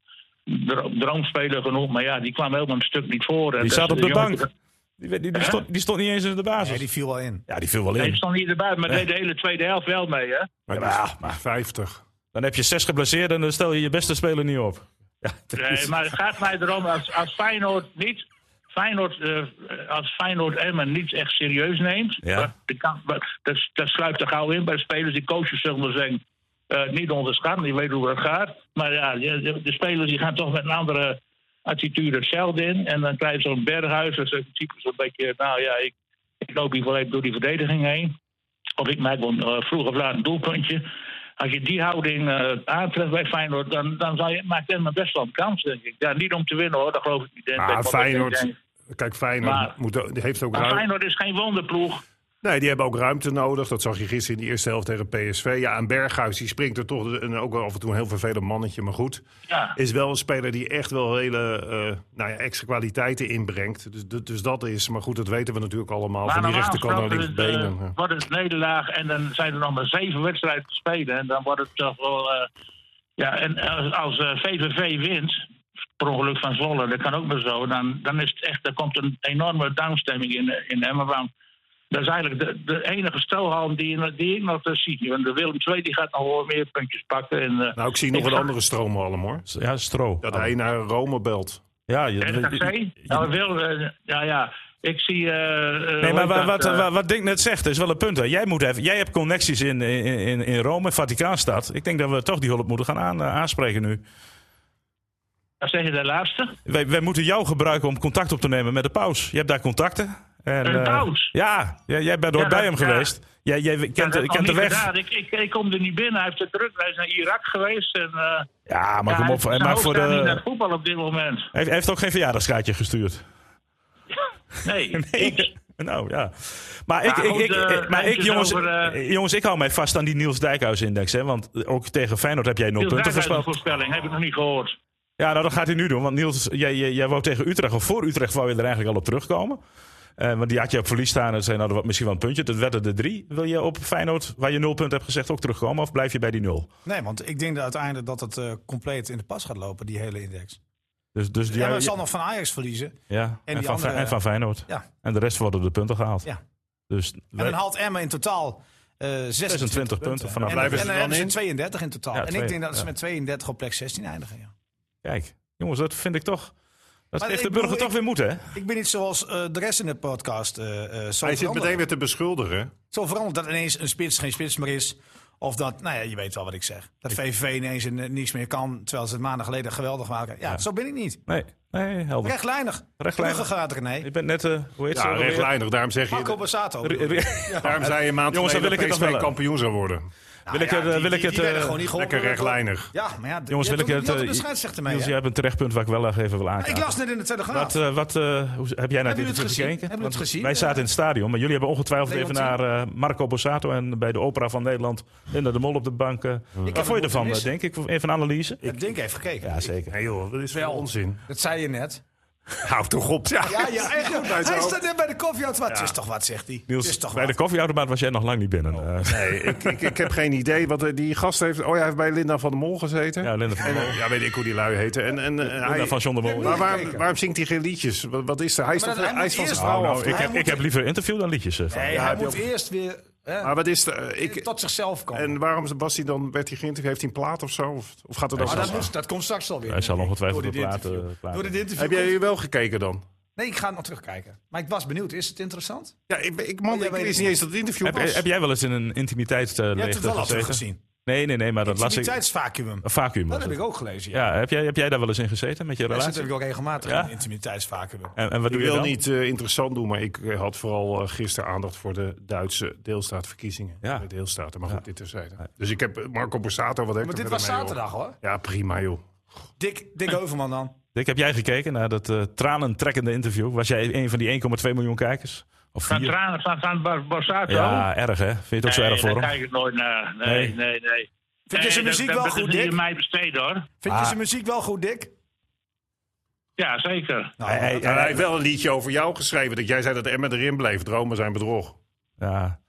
[SPEAKER 1] dro- droomspeler genoeg. Maar ja, die kwam helemaal een stuk niet voor. En
[SPEAKER 3] Die
[SPEAKER 1] dat
[SPEAKER 3] zat
[SPEAKER 1] is
[SPEAKER 3] op de
[SPEAKER 1] een jongetje
[SPEAKER 3] bank. Die, werd- die, die stond, die stond niet eens in de basis.
[SPEAKER 6] Nee, die viel wel in.
[SPEAKER 3] Ja, die viel wel
[SPEAKER 1] Hij
[SPEAKER 3] in.
[SPEAKER 1] stond niet erbij, maar deed de hele tweede helft wel mee, hè?
[SPEAKER 5] Maar,
[SPEAKER 3] Ja,
[SPEAKER 5] die- 50.
[SPEAKER 3] Dan heb je zes geblesseerd en dan stel je je beste speler niet op. Ja, dat
[SPEAKER 1] Nee,
[SPEAKER 3] is-
[SPEAKER 1] maar het gaat mij erom, als, als Feyenoord niet... Feyenoord, eh, als Feyenoord Emmen niet echt serieus neemt...
[SPEAKER 3] Ja.
[SPEAKER 1] maar de kan- maar dat, dat sluipt er gauw in bij de spelers. Die coaches zullen maar zeggen, eh, niet onderschatten, die weten hoe dat gaat. Maar ja, de, de- de spelers die gaan toch met een andere attitude hetzelfde in. En dan krijg je zo'n Berghuis, dat is een type zo'n beetje... Nou ja, ik, ik loop hier wel even door die verdediging heen. Of ik maak wel eh, vroeg of laat een doelpuntje. Als je die houding eh, aantreft bij Feyenoord, dan, dan zal je, maakt Emmen best wel een kans, denk ik. Ja, niet om te winnen, hoor. Dat geloof ik niet. in.
[SPEAKER 5] Maar
[SPEAKER 1] Ik denk wel dat ik
[SPEAKER 5] Feyenoord, Nou-
[SPEAKER 1] denk-
[SPEAKER 5] kijk, Feyenoord
[SPEAKER 1] Maar-
[SPEAKER 5] moet, die heeft ook
[SPEAKER 1] Maar
[SPEAKER 5] ruim-
[SPEAKER 1] Feyenoord is geen wonderploeg.
[SPEAKER 5] Nee, die hebben ook ruimte nodig. Dat zag je gisteren in de eerste helft tegen PSV. Ja, en Berghuis die springt er toch een, ook wel af en toe een heel vervelend mannetje. Maar goed,
[SPEAKER 1] Ja.
[SPEAKER 5] is wel een speler die echt wel hele eh, nou ja, extra kwaliteiten inbrengt. Dus, dus- dus dat is, maar goed, dat weten we natuurlijk allemaal.
[SPEAKER 1] Maar
[SPEAKER 5] van die
[SPEAKER 1] normaal
[SPEAKER 5] rechterkant naar
[SPEAKER 1] gesproken,
[SPEAKER 5] linkerbenen.
[SPEAKER 1] eh,
[SPEAKER 5] ja.
[SPEAKER 1] wordt het nederlaag en dan zijn er nog maar zeven wedstrijden te spelen. En dan wordt het toch wel... eh, ja, en als, als eh, VVV wint, per ongeluk van Zwolle, dat kan ook maar zo... dan, dan is het echt, er komt een enorme downstemming in, eh, in Emmen. Want dat is eigenlijk de, de enige stelhalm die, die ik nog eh, zie. Want de Willem II die gaat nog wel meer puntjes pakken. En, eh,
[SPEAKER 5] Nou, ik zie nog
[SPEAKER 1] Ik
[SPEAKER 5] een
[SPEAKER 1] ga-
[SPEAKER 5] andere stroomhalm hoor.
[SPEAKER 3] ja, stro.
[SPEAKER 5] Dat hij naar Rome belt.
[SPEAKER 3] Ja, je,
[SPEAKER 1] RKC? Nou, wil, eh, ja, ja. Ik zie... eh,
[SPEAKER 3] Nee, maar wat, wat,
[SPEAKER 1] wat
[SPEAKER 3] wat, wat Dink net zegt is wel een punt. Hè. Jij, moet even, jij hebt connecties in, in, in- in Rome, Vaticaanstad. Ik denk dat we toch die hulp moeten gaan aan, eh, aanspreken nu.
[SPEAKER 1] zeg je de laatste?
[SPEAKER 3] Wij, wij moeten jou gebruiken om contact op te nemen met de paus. Je hebt daar contacten. En,
[SPEAKER 1] Een
[SPEAKER 3] eh,
[SPEAKER 1] paus?
[SPEAKER 3] ja, jij, jij bent
[SPEAKER 1] Ja,
[SPEAKER 3] ooit bij
[SPEAKER 1] dat-
[SPEAKER 3] hem
[SPEAKER 1] ja.
[SPEAKER 3] geweest. Jij, jij
[SPEAKER 1] Ja,
[SPEAKER 3] kent,
[SPEAKER 1] dat
[SPEAKER 3] de-
[SPEAKER 1] had
[SPEAKER 3] kent de
[SPEAKER 1] niet
[SPEAKER 3] weg.
[SPEAKER 1] gedaan. Ik, ik, ik kom er niet binnen. Hij heeft het druk. Hij is naar Irak geweest. En, eh
[SPEAKER 3] Ja, maar
[SPEAKER 1] ja, hij-
[SPEAKER 3] kom op. Hij
[SPEAKER 1] zijn
[SPEAKER 3] maakt
[SPEAKER 1] hoofd
[SPEAKER 3] voor
[SPEAKER 1] staat niet
[SPEAKER 3] de,
[SPEAKER 1] naar voetbal op dit moment.
[SPEAKER 3] hij heeft ook geen verjaardagskaartje gestuurd.
[SPEAKER 1] Nee.
[SPEAKER 3] Nee. Nou ja. Maar ik,
[SPEAKER 1] Maar
[SPEAKER 3] ik,
[SPEAKER 1] goed,
[SPEAKER 3] ik,
[SPEAKER 1] eh,
[SPEAKER 3] maar ik
[SPEAKER 1] eventjes
[SPEAKER 3] jongens,
[SPEAKER 1] over, eh,
[SPEAKER 3] jongens, ik hou mij vast aan die Niels Dijkhuis-index. hè, Want ook tegen Feyenoord heb jij nul
[SPEAKER 1] Niels
[SPEAKER 3] punten
[SPEAKER 1] Dijkhuis een
[SPEAKER 3] voorspeld.
[SPEAKER 1] voorspelling. Heb ik nog niet gehoord.
[SPEAKER 3] Ja, nou, dat gaat hij nu doen. Want Niels, jij, jij, jij wou tegen Utrecht, of voor Utrecht, wou je er eigenlijk al op terugkomen. Eh, want die had je op verlies staan en zei, nou, dat was misschien wel een puntje. Dat werden er drie. Wil je op Feyenoord, waar je nul punt hebt gezegd, ook terugkomen? Of blijf je bij die nul?
[SPEAKER 6] Nee, want ik denk dat uiteindelijk dat het eh, compleet in de pas gaat lopen, die hele index.
[SPEAKER 3] Dus, dus die,
[SPEAKER 6] Ja, maar zal nog van Ajax verliezen.
[SPEAKER 3] ja, en,
[SPEAKER 6] die
[SPEAKER 3] van,
[SPEAKER 6] andere- eh,
[SPEAKER 3] en van Feyenoord.
[SPEAKER 6] Ja.
[SPEAKER 3] En de rest worden de punten gehaald.
[SPEAKER 6] Ja.
[SPEAKER 3] Dus
[SPEAKER 6] En
[SPEAKER 3] wij-
[SPEAKER 6] dan haalt Emmen in totaal eh 26,
[SPEAKER 3] 26 punten Nou, vanaf.
[SPEAKER 6] En,
[SPEAKER 5] Blijven
[SPEAKER 6] en
[SPEAKER 5] ze
[SPEAKER 6] dan
[SPEAKER 5] er dan
[SPEAKER 6] hebben ze
[SPEAKER 5] in?
[SPEAKER 6] 32 in totaal.
[SPEAKER 3] Ja,
[SPEAKER 6] en
[SPEAKER 3] twee-
[SPEAKER 6] ik denk dat ze
[SPEAKER 3] ja.
[SPEAKER 6] met 32 op plek 16 eindigen. Ja.
[SPEAKER 3] Kijk, jongens, dat vind ik toch... Dat
[SPEAKER 6] Maar
[SPEAKER 3] geeft
[SPEAKER 6] ik
[SPEAKER 3] de burger
[SPEAKER 6] bedoel,
[SPEAKER 3] toch weer moed, hè?
[SPEAKER 6] Ik ben niet zoals eh, de rest in de podcast. eh, eh, zo,
[SPEAKER 5] Hij zit
[SPEAKER 6] veranderd.
[SPEAKER 5] meteen weer te beschuldigen.
[SPEAKER 6] zo veranderd dat ineens een spits geen spits meer is. Of dat, nou ja, je weet wel wat ik zeg. Dat VVV ineens in, eh, niks meer kan, terwijl ze het maanden geleden geweldig waren. Ja, zo ben ik niet.
[SPEAKER 3] Nee, nee helder.
[SPEAKER 6] Rechtlijnig.
[SPEAKER 3] Rechtlijnig.
[SPEAKER 6] Vlugger gaat René.
[SPEAKER 3] Je bent net, eh hoe heet ze
[SPEAKER 5] Ja, Nou
[SPEAKER 3] ook alweer?
[SPEAKER 5] rechtlijnig. Daarom zeg
[SPEAKER 6] Marco
[SPEAKER 5] je.
[SPEAKER 6] Bassato.
[SPEAKER 3] Re-
[SPEAKER 6] bedoel ik.
[SPEAKER 3] re-
[SPEAKER 5] Daarom zei je een maand
[SPEAKER 3] Jongens, dan
[SPEAKER 5] geleden
[SPEAKER 3] wil ik
[SPEAKER 5] dat
[SPEAKER 3] het nog
[SPEAKER 5] PSV
[SPEAKER 3] wel.
[SPEAKER 5] kampioen zou worden.
[SPEAKER 3] Wil ik het, eh,
[SPEAKER 6] die-
[SPEAKER 3] wil ik
[SPEAKER 6] die-
[SPEAKER 3] het,
[SPEAKER 6] die werden
[SPEAKER 3] eh,
[SPEAKER 6] gewoon niet geholpen.
[SPEAKER 5] Lekker rechtlijnig.
[SPEAKER 6] Ja, maar ja,
[SPEAKER 3] Jongens, wil ik het...
[SPEAKER 6] De
[SPEAKER 3] eh,
[SPEAKER 6] scheidsrechter mee.
[SPEAKER 3] Niels,
[SPEAKER 6] hè?
[SPEAKER 3] jij hebt een terechtpunt waar ik wel eh, even wil aankaarten.
[SPEAKER 6] Ik las net in de Telegraaf.
[SPEAKER 3] Wat, eh, wat eh, hoe, heb jij naar dit
[SPEAKER 6] jullie het
[SPEAKER 3] interview
[SPEAKER 6] gezien?
[SPEAKER 3] gekeken?
[SPEAKER 6] Hebben jullie het
[SPEAKER 3] Want
[SPEAKER 6] gezien?
[SPEAKER 3] Wij zaten in het stadion, maar jullie hebben ongetwijfeld even
[SPEAKER 6] Leontien.
[SPEAKER 3] naar eh, Marco Borsato en bij de Opera van Nederland Linda de Mol op de bank. eh. Wat vond je ervan, eh, denk ik? Even een analyse?
[SPEAKER 6] Ik denk even gekeken.
[SPEAKER 3] Ja, zeker.
[SPEAKER 5] Nee joh, dat is wel onzin.
[SPEAKER 6] Dat zei je net.
[SPEAKER 5] Hou toch op. Ja,
[SPEAKER 6] Ja, ja, echt. Hij staat net bij de koffieautomaat. Het is toch wat, zegt hij. Het
[SPEAKER 3] Niels,
[SPEAKER 6] is toch Oh.
[SPEAKER 3] bij
[SPEAKER 6] wat.
[SPEAKER 3] de koffieautomaat was jij nog lang niet binnen. Eh,
[SPEAKER 5] Nee, ik, ik, ik heb geen idee. Wat eh, die gast heeft. Oh, hij heeft bij Linda van der Mol gezeten.
[SPEAKER 3] ja, Linda van,
[SPEAKER 5] En, eh, ja, weet ik hoe die lui heten. En, en, eh, hij,
[SPEAKER 3] Linda van John de Mol.
[SPEAKER 5] maar waarom, waarom zingt hij geen liedjes? Wat, wat is er? Hij is,
[SPEAKER 6] Maar
[SPEAKER 5] toch,
[SPEAKER 6] dat- hij
[SPEAKER 5] hij is
[SPEAKER 6] moet
[SPEAKER 5] van zijn
[SPEAKER 6] eerst-
[SPEAKER 5] vrouw
[SPEAKER 3] Nou,
[SPEAKER 5] af.
[SPEAKER 3] ik, heb,
[SPEAKER 6] moet-
[SPEAKER 3] ik heb liever interview dan liedjes. eh, van.
[SPEAKER 6] Nee,
[SPEAKER 5] Ja,
[SPEAKER 6] hij
[SPEAKER 5] heb je
[SPEAKER 6] moet
[SPEAKER 5] ook-
[SPEAKER 6] eerst weer hè,
[SPEAKER 5] Maar wat is er? eh, Ik,
[SPEAKER 6] tot zichzelf komen.
[SPEAKER 5] en waarom was hij dan, werd hij geïnterviewd? Heeft hij een plaat of zo? Of, of gaat er dan
[SPEAKER 6] maar dat,
[SPEAKER 5] zo-
[SPEAKER 6] moest- dat komt straks alweer.
[SPEAKER 3] Hij zal
[SPEAKER 6] denk ik,
[SPEAKER 3] ongetwijfeld
[SPEAKER 6] door
[SPEAKER 3] de
[SPEAKER 6] dit
[SPEAKER 3] platen- eh,
[SPEAKER 6] interview.
[SPEAKER 3] platen.
[SPEAKER 6] Door dit interview
[SPEAKER 5] Heb jij
[SPEAKER 6] komt-
[SPEAKER 5] hier wel gekeken dan?
[SPEAKER 6] Nee, ik ga het nog terugkijken. Maar ik was benieuwd. Is het interessant?
[SPEAKER 5] Ja, ik, ik, man,
[SPEAKER 6] Oh, jij
[SPEAKER 5] ik
[SPEAKER 6] weet
[SPEAKER 5] wist
[SPEAKER 6] het
[SPEAKER 5] niet
[SPEAKER 6] niet.
[SPEAKER 5] eens dat het interview
[SPEAKER 3] heb,
[SPEAKER 5] was.
[SPEAKER 3] heb jij wel eens in een intimiteit uh,
[SPEAKER 6] Je hebt het wel al teruggezien.
[SPEAKER 3] Nee, nee, nee, maar dat las ik. Een
[SPEAKER 6] Intimiteitsvacuum.
[SPEAKER 3] vacuüm was
[SPEAKER 6] Dat heb
[SPEAKER 3] het.
[SPEAKER 6] ik ook gelezen. Ja.
[SPEAKER 3] Ja, heb jij, heb jij daar wel eens in gezeten met je
[SPEAKER 6] Daar zit
[SPEAKER 3] relatie?
[SPEAKER 6] ik ook regelmatig
[SPEAKER 3] Ja.
[SPEAKER 6] in. Intimiteitsvacuum.
[SPEAKER 3] En, en wat doe
[SPEAKER 5] ik
[SPEAKER 3] je
[SPEAKER 5] wil
[SPEAKER 3] dan?
[SPEAKER 5] niet eh, interessant doen, maar ik eh, had vooral eh, gisteren aandacht voor de Duitse deelstaatverkiezingen.
[SPEAKER 3] Ja.
[SPEAKER 5] De deelstaten, maar goed, dit terzijde. Dus ik heb eh, Marco Borsato, wat heb
[SPEAKER 6] Maar
[SPEAKER 5] ik
[SPEAKER 6] dit
[SPEAKER 5] er
[SPEAKER 6] was
[SPEAKER 5] verder mee, joh?
[SPEAKER 6] zaterdag hoor.
[SPEAKER 5] Ja, prima joh.
[SPEAKER 6] Dick, Dick Heuvelman dan.
[SPEAKER 3] Dick, heb jij gekeken naar dat eh, tranentrekkende interview? Was jij een van die 1,2 miljoen kijkers? Of
[SPEAKER 1] Van
[SPEAKER 3] vier?
[SPEAKER 1] tranen van, van Bar- Borsato.
[SPEAKER 3] Ja, erg hè? Vind je het ook zo
[SPEAKER 1] nee,
[SPEAKER 3] erg voor
[SPEAKER 1] daar
[SPEAKER 3] hem?
[SPEAKER 1] kijk ik nooit naar. Nee, nee,
[SPEAKER 3] Nee.
[SPEAKER 1] nee. nee.
[SPEAKER 6] Vind je zijn
[SPEAKER 1] dat-
[SPEAKER 6] muziek
[SPEAKER 1] dat-
[SPEAKER 6] wel
[SPEAKER 1] dat is
[SPEAKER 6] goed,
[SPEAKER 1] niet
[SPEAKER 6] Dick?
[SPEAKER 1] in mij besteed, hoor.
[SPEAKER 6] Vind
[SPEAKER 3] Ah.
[SPEAKER 6] je zijn muziek wel goed, Dick?
[SPEAKER 1] Ja, zeker.
[SPEAKER 6] Nou,
[SPEAKER 3] Hij- hij-
[SPEAKER 5] En hij heeft wel een liedje over jou geschreven. Dat jij zei dat Emma erin bleef. Dromen zijn bedrog.
[SPEAKER 3] Ja.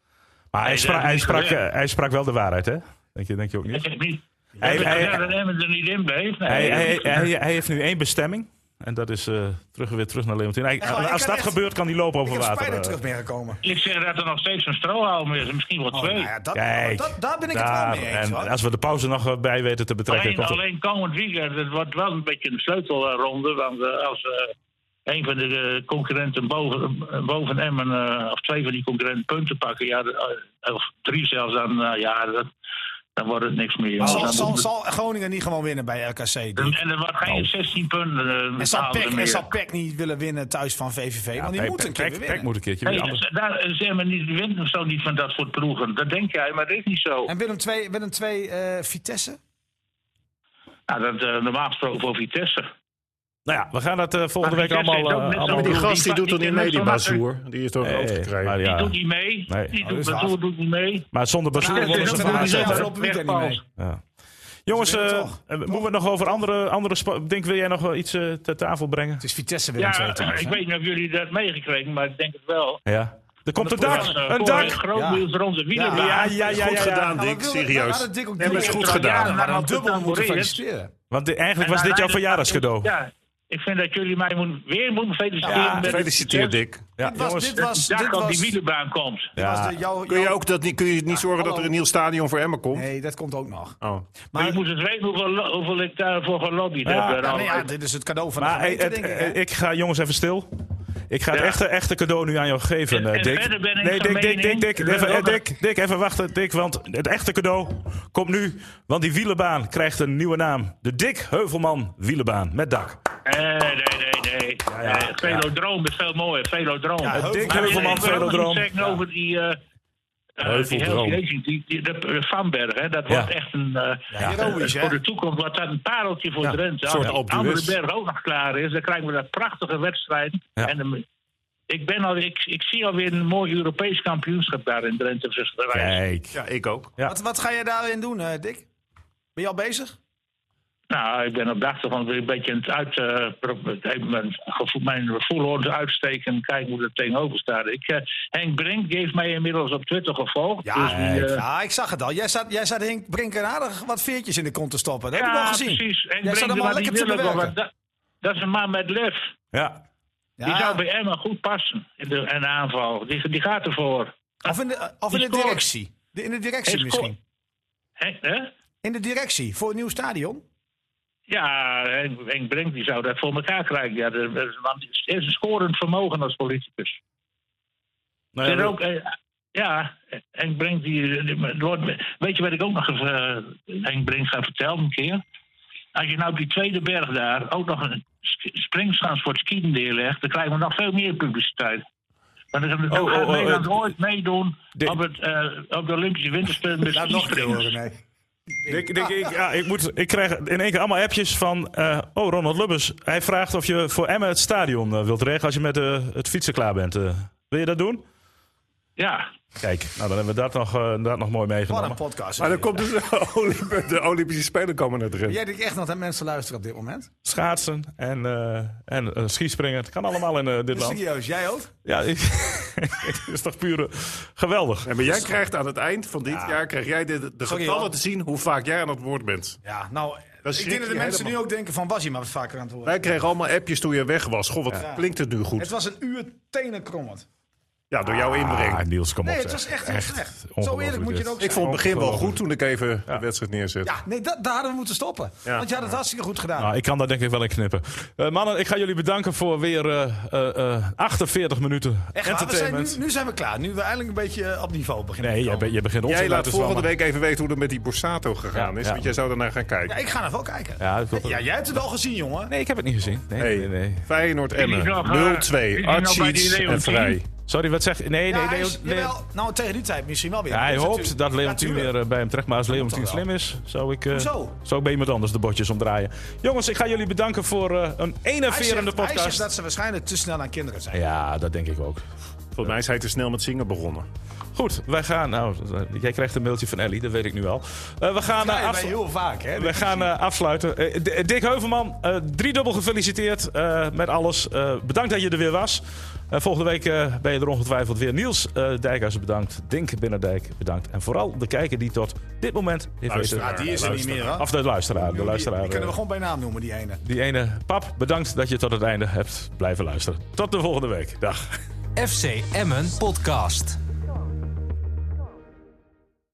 [SPEAKER 3] Maar hij,
[SPEAKER 1] dat
[SPEAKER 3] spra-
[SPEAKER 1] heb ik
[SPEAKER 3] hij,
[SPEAKER 1] niet
[SPEAKER 3] sprak,
[SPEAKER 1] gezien.
[SPEAKER 3] eh, hij sprak wel de waarheid hè? Denk je, denk je ook niet?
[SPEAKER 1] Ik heb niet.
[SPEAKER 3] Hij-
[SPEAKER 1] heb ik
[SPEAKER 3] hij-
[SPEAKER 1] gezegd dat Emmen er niet in bleef. Nee,
[SPEAKER 6] eh,
[SPEAKER 3] Hij, hij, hij, hij heeft nu één bestemming. En dat is eh, terug, weer terug naar Leontien. Hij-
[SPEAKER 6] Echt waar, Oh, ik
[SPEAKER 3] als
[SPEAKER 6] kan
[SPEAKER 3] dat
[SPEAKER 6] echt-
[SPEAKER 3] gebeurt, kan hij lopen
[SPEAKER 6] Ik
[SPEAKER 3] over
[SPEAKER 6] heb
[SPEAKER 3] water.
[SPEAKER 6] Spider
[SPEAKER 3] eh.
[SPEAKER 6] terug binnengekomen.
[SPEAKER 1] Ik zeg dat er nog steeds een strohalm is, misschien wel
[SPEAKER 6] Oh,
[SPEAKER 1] twee.
[SPEAKER 6] nou ja, dat,
[SPEAKER 3] Kijk,
[SPEAKER 6] dat, daar ben ik
[SPEAKER 3] daar-
[SPEAKER 6] het wel mee eens.
[SPEAKER 3] En
[SPEAKER 6] hoor.
[SPEAKER 3] als we de pauze nog eh, bij weten te betrekken...
[SPEAKER 1] alleen,
[SPEAKER 3] komt er-
[SPEAKER 1] alleen komend weekend, het wordt wel een beetje een sleutelronde. Want eh, als eh, een van de eh, concurrenten boven, boven Emmen, eh, of twee van die concurrenten punten pakken, ja, de- eh, of drie zelfs, dan, eh, ja, dat, dan wordt het niks meer.
[SPEAKER 6] zal,
[SPEAKER 1] Dan
[SPEAKER 6] zal,
[SPEAKER 1] moet-
[SPEAKER 6] zal Groningen niet gewoon winnen bij RKC? denk ik?
[SPEAKER 1] en, en er wordt geen
[SPEAKER 3] Nou.
[SPEAKER 1] 16 punten. eh,
[SPEAKER 6] En zal
[SPEAKER 1] halen
[SPEAKER 6] PEC, en
[SPEAKER 1] meer.
[SPEAKER 6] zal PEC niet willen winnen thuis van VVV? want die
[SPEAKER 3] Hey,
[SPEAKER 6] moet een
[SPEAKER 3] Peck-
[SPEAKER 6] keer
[SPEAKER 3] Peck-
[SPEAKER 6] weer
[SPEAKER 3] Peck
[SPEAKER 6] winnen. dus-
[SPEAKER 3] moet een keertje.
[SPEAKER 1] Hey,
[SPEAKER 3] weer. Anders-
[SPEAKER 1] daar zijn we niet, wint of zo niet van dat soort ploegen. Dat denk jij, maar dat is niet zo.
[SPEAKER 6] En Willem 2, Willem 2 eh, Vitesse?
[SPEAKER 1] Nou, dat, eh, normaal gesproken voor Vitesse.
[SPEAKER 3] Nou ja, we gaan dat eh, volgende
[SPEAKER 1] Maar
[SPEAKER 3] week
[SPEAKER 1] Vitesse
[SPEAKER 3] allemaal...
[SPEAKER 1] heeft ook
[SPEAKER 3] eh,
[SPEAKER 1] net zo-
[SPEAKER 3] allemaal
[SPEAKER 6] Oh,
[SPEAKER 5] Die
[SPEAKER 1] Die
[SPEAKER 5] gast die
[SPEAKER 1] pa-
[SPEAKER 5] doet
[SPEAKER 1] die
[SPEAKER 5] er niet
[SPEAKER 1] kennen
[SPEAKER 5] mee, die
[SPEAKER 1] zo'n
[SPEAKER 5] Bazoer. Die is toch
[SPEAKER 3] Hey,
[SPEAKER 5] ook
[SPEAKER 3] maar,
[SPEAKER 5] gekregen.
[SPEAKER 1] Die
[SPEAKER 3] ja,
[SPEAKER 1] doet niet mee.
[SPEAKER 3] Nee,
[SPEAKER 1] die
[SPEAKER 3] oh,
[SPEAKER 1] doet,
[SPEAKER 3] dat is
[SPEAKER 1] Batoer
[SPEAKER 3] af.
[SPEAKER 1] doet niet mee.
[SPEAKER 3] maar zonder Bassoer
[SPEAKER 6] Nou,
[SPEAKER 3] worden
[SPEAKER 6] dat
[SPEAKER 3] ze
[SPEAKER 6] is
[SPEAKER 3] van
[SPEAKER 6] een
[SPEAKER 3] AZ.
[SPEAKER 6] die
[SPEAKER 1] Wegpaal.
[SPEAKER 6] zijn afgelopen weekend niet mee.
[SPEAKER 3] Ja. Jongens,
[SPEAKER 6] winnen
[SPEAKER 3] eh,
[SPEAKER 6] toch.
[SPEAKER 3] eh, moeten we het nog over andere, andere spa- Denk, wil jij nog wel iets eh, ter tafel brengen?
[SPEAKER 6] Het is Vitesse Willem 2
[SPEAKER 1] Ja, eh,
[SPEAKER 6] thuis.
[SPEAKER 1] ik
[SPEAKER 6] hè?
[SPEAKER 1] weet niet of jullie dat meegekregen, maar ik denk het wel.
[SPEAKER 3] Ja. Er komt een dak!
[SPEAKER 1] Dat was, eh,
[SPEAKER 3] Een
[SPEAKER 1] voor het
[SPEAKER 3] dak!
[SPEAKER 1] Groot
[SPEAKER 6] Ja.
[SPEAKER 1] nieuws rond de wielen.
[SPEAKER 3] Ja, ja, ja,
[SPEAKER 5] Goed
[SPEAKER 3] ja. ja.
[SPEAKER 5] gedaan,
[SPEAKER 6] Nou,
[SPEAKER 5] Dick.
[SPEAKER 6] we wilden- we
[SPEAKER 5] Serieus.
[SPEAKER 6] hadden Dick ook
[SPEAKER 5] Nee, maar
[SPEAKER 6] dubbel-
[SPEAKER 5] is goed
[SPEAKER 6] Ja,
[SPEAKER 5] gedaan.
[SPEAKER 6] we hadden hem dubbel moeten
[SPEAKER 1] Getamboreerd.
[SPEAKER 6] feliciteren.
[SPEAKER 3] Want de- eigenlijk
[SPEAKER 1] En
[SPEAKER 3] was dit jouw
[SPEAKER 1] hij-
[SPEAKER 3] verjaardagscadeau.
[SPEAKER 1] Ja, ik vind dat jullie mij moet, weer moeten feliciteren.
[SPEAKER 6] Ja,
[SPEAKER 1] met het
[SPEAKER 5] Gefeliciteerd, Dick.
[SPEAKER 3] Ja,
[SPEAKER 6] Dit was, dit
[SPEAKER 3] jongens.
[SPEAKER 6] was,
[SPEAKER 1] dak
[SPEAKER 6] dit
[SPEAKER 1] dat
[SPEAKER 6] was,
[SPEAKER 1] die wielenbaan komt.
[SPEAKER 6] dit was de- jouw-
[SPEAKER 5] Kun je,
[SPEAKER 6] jouw-
[SPEAKER 5] ook dat niet, kun je niet zorgen dat er een nieuw stadion voor Emmen komt?
[SPEAKER 6] Nee, dat komt ook nog.
[SPEAKER 5] Oh.
[SPEAKER 1] Maar Dus je
[SPEAKER 6] Maar,
[SPEAKER 1] moet eens weten hoeveel, lo- hoeveel ik daarvoor gelobbyd
[SPEAKER 3] Ja,
[SPEAKER 1] heb. eh,
[SPEAKER 6] ja,
[SPEAKER 1] Ralf.
[SPEAKER 6] nee, Nou ja, dit is het cadeau van de
[SPEAKER 3] Maar hey,
[SPEAKER 6] gemeente,
[SPEAKER 3] het-
[SPEAKER 6] denk ik.
[SPEAKER 3] eh,
[SPEAKER 6] hè?
[SPEAKER 3] ik ga, jongens, even stil. Ik ga het
[SPEAKER 1] Ja.
[SPEAKER 3] echte, echte cadeau nu aan jou geven,
[SPEAKER 1] En-
[SPEAKER 3] eh,
[SPEAKER 1] en
[SPEAKER 3] Dick.
[SPEAKER 1] verder ben ik
[SPEAKER 3] nee,
[SPEAKER 1] van
[SPEAKER 3] Dick, Dick, Dick,
[SPEAKER 1] mening-
[SPEAKER 3] Dick,
[SPEAKER 1] We
[SPEAKER 3] even, eh,
[SPEAKER 1] wilden-
[SPEAKER 3] Dick, Dick, even wachten, Dick. Want het echte cadeau komt nu. Want die wielenbaan krijgt een nieuwe naam. De Dick Heuvelman Wielenbaan met dak.
[SPEAKER 1] Nee, nee, nee. nee.
[SPEAKER 3] ja,
[SPEAKER 1] Eh, Velodroom is veel mooier. Velodroom.
[SPEAKER 6] Ja, Heuvelman.
[SPEAKER 3] Dick
[SPEAKER 1] Maar ik-
[SPEAKER 3] Heuvelman
[SPEAKER 1] ik wil ook nog
[SPEAKER 3] Velodroom.
[SPEAKER 1] iets zeggen over die... eh, eh, die
[SPEAKER 3] Heuveldroom.
[SPEAKER 1] Hells Gate, die, die, de, de Vanberg, hè, dat
[SPEAKER 3] Ja.
[SPEAKER 1] wordt echt een... eh,
[SPEAKER 6] Heroïsch,
[SPEAKER 1] Voor
[SPEAKER 6] hè?
[SPEAKER 1] de toekomst wordt dat een pareltje voor
[SPEAKER 3] Ja,
[SPEAKER 1] Drenthe. Als
[SPEAKER 5] soort
[SPEAKER 1] de
[SPEAKER 5] Alpe
[SPEAKER 1] andere
[SPEAKER 5] d'Huez.
[SPEAKER 1] berg ook nog klaar is, dan krijgen we dat prachtige wedstrijd.
[SPEAKER 3] Ja.
[SPEAKER 1] En de- ik, ben al, ik, ik zie alweer een mooi Europees kampioenschap daar in Drenthe. zich te wijzen.
[SPEAKER 3] Kijk.
[SPEAKER 5] Ja, ik ook.
[SPEAKER 3] Ja.
[SPEAKER 6] Wat, wat ga je daarin doen, eh, Dick? Ben je al bezig?
[SPEAKER 1] Nou, ik ben op de achtergrond weer een beetje aan het uit, eh, pro- even mijn, gevoel, mijn voorhoorns uitsteken en kijken hoe dat tegenover staat. Ik, eh, Henk Brink heeft mij inmiddels op Twitter gevolgd.
[SPEAKER 6] Ja,
[SPEAKER 1] dus die, eh,
[SPEAKER 6] ja, ik zag het al. Jij zat, jij zat Henk Brink en aardig wat veertjes in de kont te stoppen. Dat heb ik
[SPEAKER 1] ja
[SPEAKER 6] al gezien.
[SPEAKER 1] precies. Henk
[SPEAKER 6] Jij zat
[SPEAKER 1] Brink,
[SPEAKER 6] hem al
[SPEAKER 1] maar die
[SPEAKER 6] lekker te
[SPEAKER 1] wil ik wel,
[SPEAKER 6] bewerken.
[SPEAKER 1] want dat, dat is een man met lef.
[SPEAKER 3] Ja.
[SPEAKER 1] Die
[SPEAKER 6] Ja,
[SPEAKER 1] zou bij Emma goed passen in de, in de aanval. Die, die gaat ervoor.
[SPEAKER 6] Of in de, eh, of in
[SPEAKER 1] Die
[SPEAKER 6] de
[SPEAKER 1] scoort.
[SPEAKER 6] directie. De- in de directie
[SPEAKER 1] Hij scoort.
[SPEAKER 6] misschien.
[SPEAKER 1] Henk, hè?
[SPEAKER 6] In de directie, voor het nieuw stadion.
[SPEAKER 1] Ja, Henk, Henk Brink die zou dat voor elkaar krijgen. Ja, dat- dat- want het is een scorend vermogen als politicus.
[SPEAKER 3] Nou ja,
[SPEAKER 1] Er ook, eh, ja, Henk Brink, die, die- het wordt- weet je wat ik ook nog eens, eh, Henk Brink ga vertellen een keer? Als je nou op die tweede berg daar ook nog een sk- springschans voor het skiën neerlegt... dan krijgen we nog veel meer publiciteit. Want dan dan
[SPEAKER 3] Oh,
[SPEAKER 1] gaat
[SPEAKER 3] oh, oh,
[SPEAKER 1] Nederland
[SPEAKER 3] eh,
[SPEAKER 1] ooit meedoen
[SPEAKER 3] de- Nou,
[SPEAKER 1] op, het, eh, op de Olympische Winterspelen met
[SPEAKER 6] Laat nog een keer
[SPEAKER 1] skispringers.
[SPEAKER 6] horen, nee.
[SPEAKER 3] Dick, Dick, ik, ja, ik, moet, ik krijg in één keer allemaal appjes van... eh, oh, Ronald Lubbers. Hij vraagt of je voor Emmen het stadion eh, wilt regelen... als je met eh, het fietsen klaar bent. eh. wil je dat doen?
[SPEAKER 1] Ja,
[SPEAKER 3] Kijk, nou, dan hebben we dat nog, eh, dat nog mooi
[SPEAKER 6] Wat
[SPEAKER 3] meegenomen.
[SPEAKER 6] een podcast.
[SPEAKER 5] Maar dan komt dus de, Olymp- de Olympische Spelen komen naar erin.
[SPEAKER 6] Jij denkt echt nog dat mensen luisteren op dit moment?
[SPEAKER 3] Schaatsen en, eh, en eh, skispringen. Het kan allemaal in eh, dit land.
[SPEAKER 6] Serieus, jij ook?
[SPEAKER 3] Ja, ik- het is toch puur eh, geweldig.
[SPEAKER 5] Ja, maar jij krijgt aan het eind van dit jaar krijg jij de, de
[SPEAKER 6] Sorry,
[SPEAKER 5] getallen
[SPEAKER 6] hoor.
[SPEAKER 5] te zien hoe vaak jij aan het woord bent.
[SPEAKER 6] Ja, nou,
[SPEAKER 5] Dat
[SPEAKER 6] ik
[SPEAKER 5] schrik
[SPEAKER 6] denk dat de
[SPEAKER 5] je
[SPEAKER 6] mensen nu
[SPEAKER 5] helemaal.
[SPEAKER 6] ook denken van, was hij maar wat vaker aan het horen.
[SPEAKER 5] Wij kregen allemaal appjes toen je weg was. Goh, wat klinkt het nu
[SPEAKER 6] Het
[SPEAKER 5] goed?
[SPEAKER 6] was een uur tenen krommend.
[SPEAKER 5] Ja, door jouw
[SPEAKER 3] Ah,
[SPEAKER 5] inbreng.
[SPEAKER 3] Niels, kom op.
[SPEAKER 6] Nee, het
[SPEAKER 3] zeg.
[SPEAKER 6] was echt heel slecht. Zo
[SPEAKER 3] ongelooflijk
[SPEAKER 6] eerlijk moet je
[SPEAKER 3] dit.
[SPEAKER 6] het ook
[SPEAKER 5] Ik
[SPEAKER 6] zijn.
[SPEAKER 5] vond het begin wel goed toen ik even de wedstrijd neerzette.
[SPEAKER 6] Ja, nee, dat, daar hadden we moeten stoppen. Want je had het hartstikke goed gedaan.
[SPEAKER 3] Nou, ik kan daar denk ik wel in knippen. Eh, mannen, ik ga jullie bedanken voor weer eh, eh, eh, 48 minuten
[SPEAKER 6] Echt waar, we zijn
[SPEAKER 3] entertainment.
[SPEAKER 6] nu, nu zijn we klaar. Nu we eindelijk een beetje eh, op niveau beginnen.
[SPEAKER 3] Nee,
[SPEAKER 6] te
[SPEAKER 3] jij,
[SPEAKER 6] komen.
[SPEAKER 3] be- jij begint ons
[SPEAKER 5] Jij
[SPEAKER 3] te
[SPEAKER 5] laat
[SPEAKER 3] laten
[SPEAKER 5] volgende
[SPEAKER 3] zwammen.
[SPEAKER 5] week even weten hoe het met die Borsato gegaan
[SPEAKER 3] Ja,
[SPEAKER 5] is.
[SPEAKER 3] ja.
[SPEAKER 5] Want jij zou daarna gaan kijken.
[SPEAKER 6] Ja, ik ga er wel kijken.
[SPEAKER 3] Ja, ik wil-
[SPEAKER 6] Ja, jij hebt het al gezien, jongen.
[SPEAKER 3] Nee, ik heb het niet gezien. Nee,
[SPEAKER 5] Hey,
[SPEAKER 3] nee, nee.
[SPEAKER 5] Feyenoord
[SPEAKER 1] Is
[SPEAKER 5] Emmen.
[SPEAKER 1] die nog, eh, is
[SPEAKER 5] 0-2.
[SPEAKER 1] die nog bij die
[SPEAKER 5] Artsiets en
[SPEAKER 1] Leontien?
[SPEAKER 5] Vrij.
[SPEAKER 3] Sorry, wat zeg je? Nee, nee,
[SPEAKER 6] Ja, hij
[SPEAKER 3] nee.
[SPEAKER 6] is-
[SPEAKER 3] nee.
[SPEAKER 6] jawel. nou, tegen die tijd misschien wel weer.
[SPEAKER 3] Ja, hij
[SPEAKER 6] Dat is
[SPEAKER 3] hoopt
[SPEAKER 6] natuurlijk-
[SPEAKER 3] dat Leontien
[SPEAKER 6] Ja,
[SPEAKER 3] weer
[SPEAKER 6] tuurlijk.
[SPEAKER 3] eh, bij hem terecht. Maar als Leontien
[SPEAKER 6] toch wel.
[SPEAKER 3] slim is, zou ik, eh,
[SPEAKER 6] Hoezo?
[SPEAKER 3] zou ik bij iemand anders de bordjes omdraaien. Jongens, ik ga jullie bedanken voor eh, een
[SPEAKER 6] Hij
[SPEAKER 3] enerverende
[SPEAKER 6] zegt, hij zegt
[SPEAKER 3] podcast.
[SPEAKER 6] dat ze waarschijnlijk te snel aan kinderen zijn.
[SPEAKER 3] Ja, dat denk ik ook.
[SPEAKER 5] Volgens mij is hij te snel met zingen begonnen.
[SPEAKER 3] Goed, wij gaan. Nou, eh, jij krijgt een mailtje van Ellie, dat weet ik nu al. Eh, we gaan, eh,
[SPEAKER 6] Ja,
[SPEAKER 3] af-
[SPEAKER 6] bij heel vaak, hè?
[SPEAKER 3] we gaan eh, afsluiten. Eh, D- eh, Dick Heuvelman, eh driedubbel gefeliciteerd eh, met alles. Eh, bedankt dat je er weer was. Eh, volgende week eh, ben je er ongetwijfeld weer. Niels eh Dijkhuizen bedankt. Dink Binnendijk bedankt. En vooral de kijker die tot dit moment heeft
[SPEAKER 5] Luisteraar,
[SPEAKER 3] weten-
[SPEAKER 5] die is
[SPEAKER 6] er niet meer, hè?
[SPEAKER 3] Of de luisteraar. De
[SPEAKER 6] Die,
[SPEAKER 3] luisteraar
[SPEAKER 6] die kunnen we
[SPEAKER 3] eh,
[SPEAKER 6] gewoon bij naam noemen, die ene.
[SPEAKER 3] die ene. Pap, bedankt dat je tot het einde hebt blijven luisteren. Tot de volgende week. Dag.
[SPEAKER 2] FC Emmen Podcast.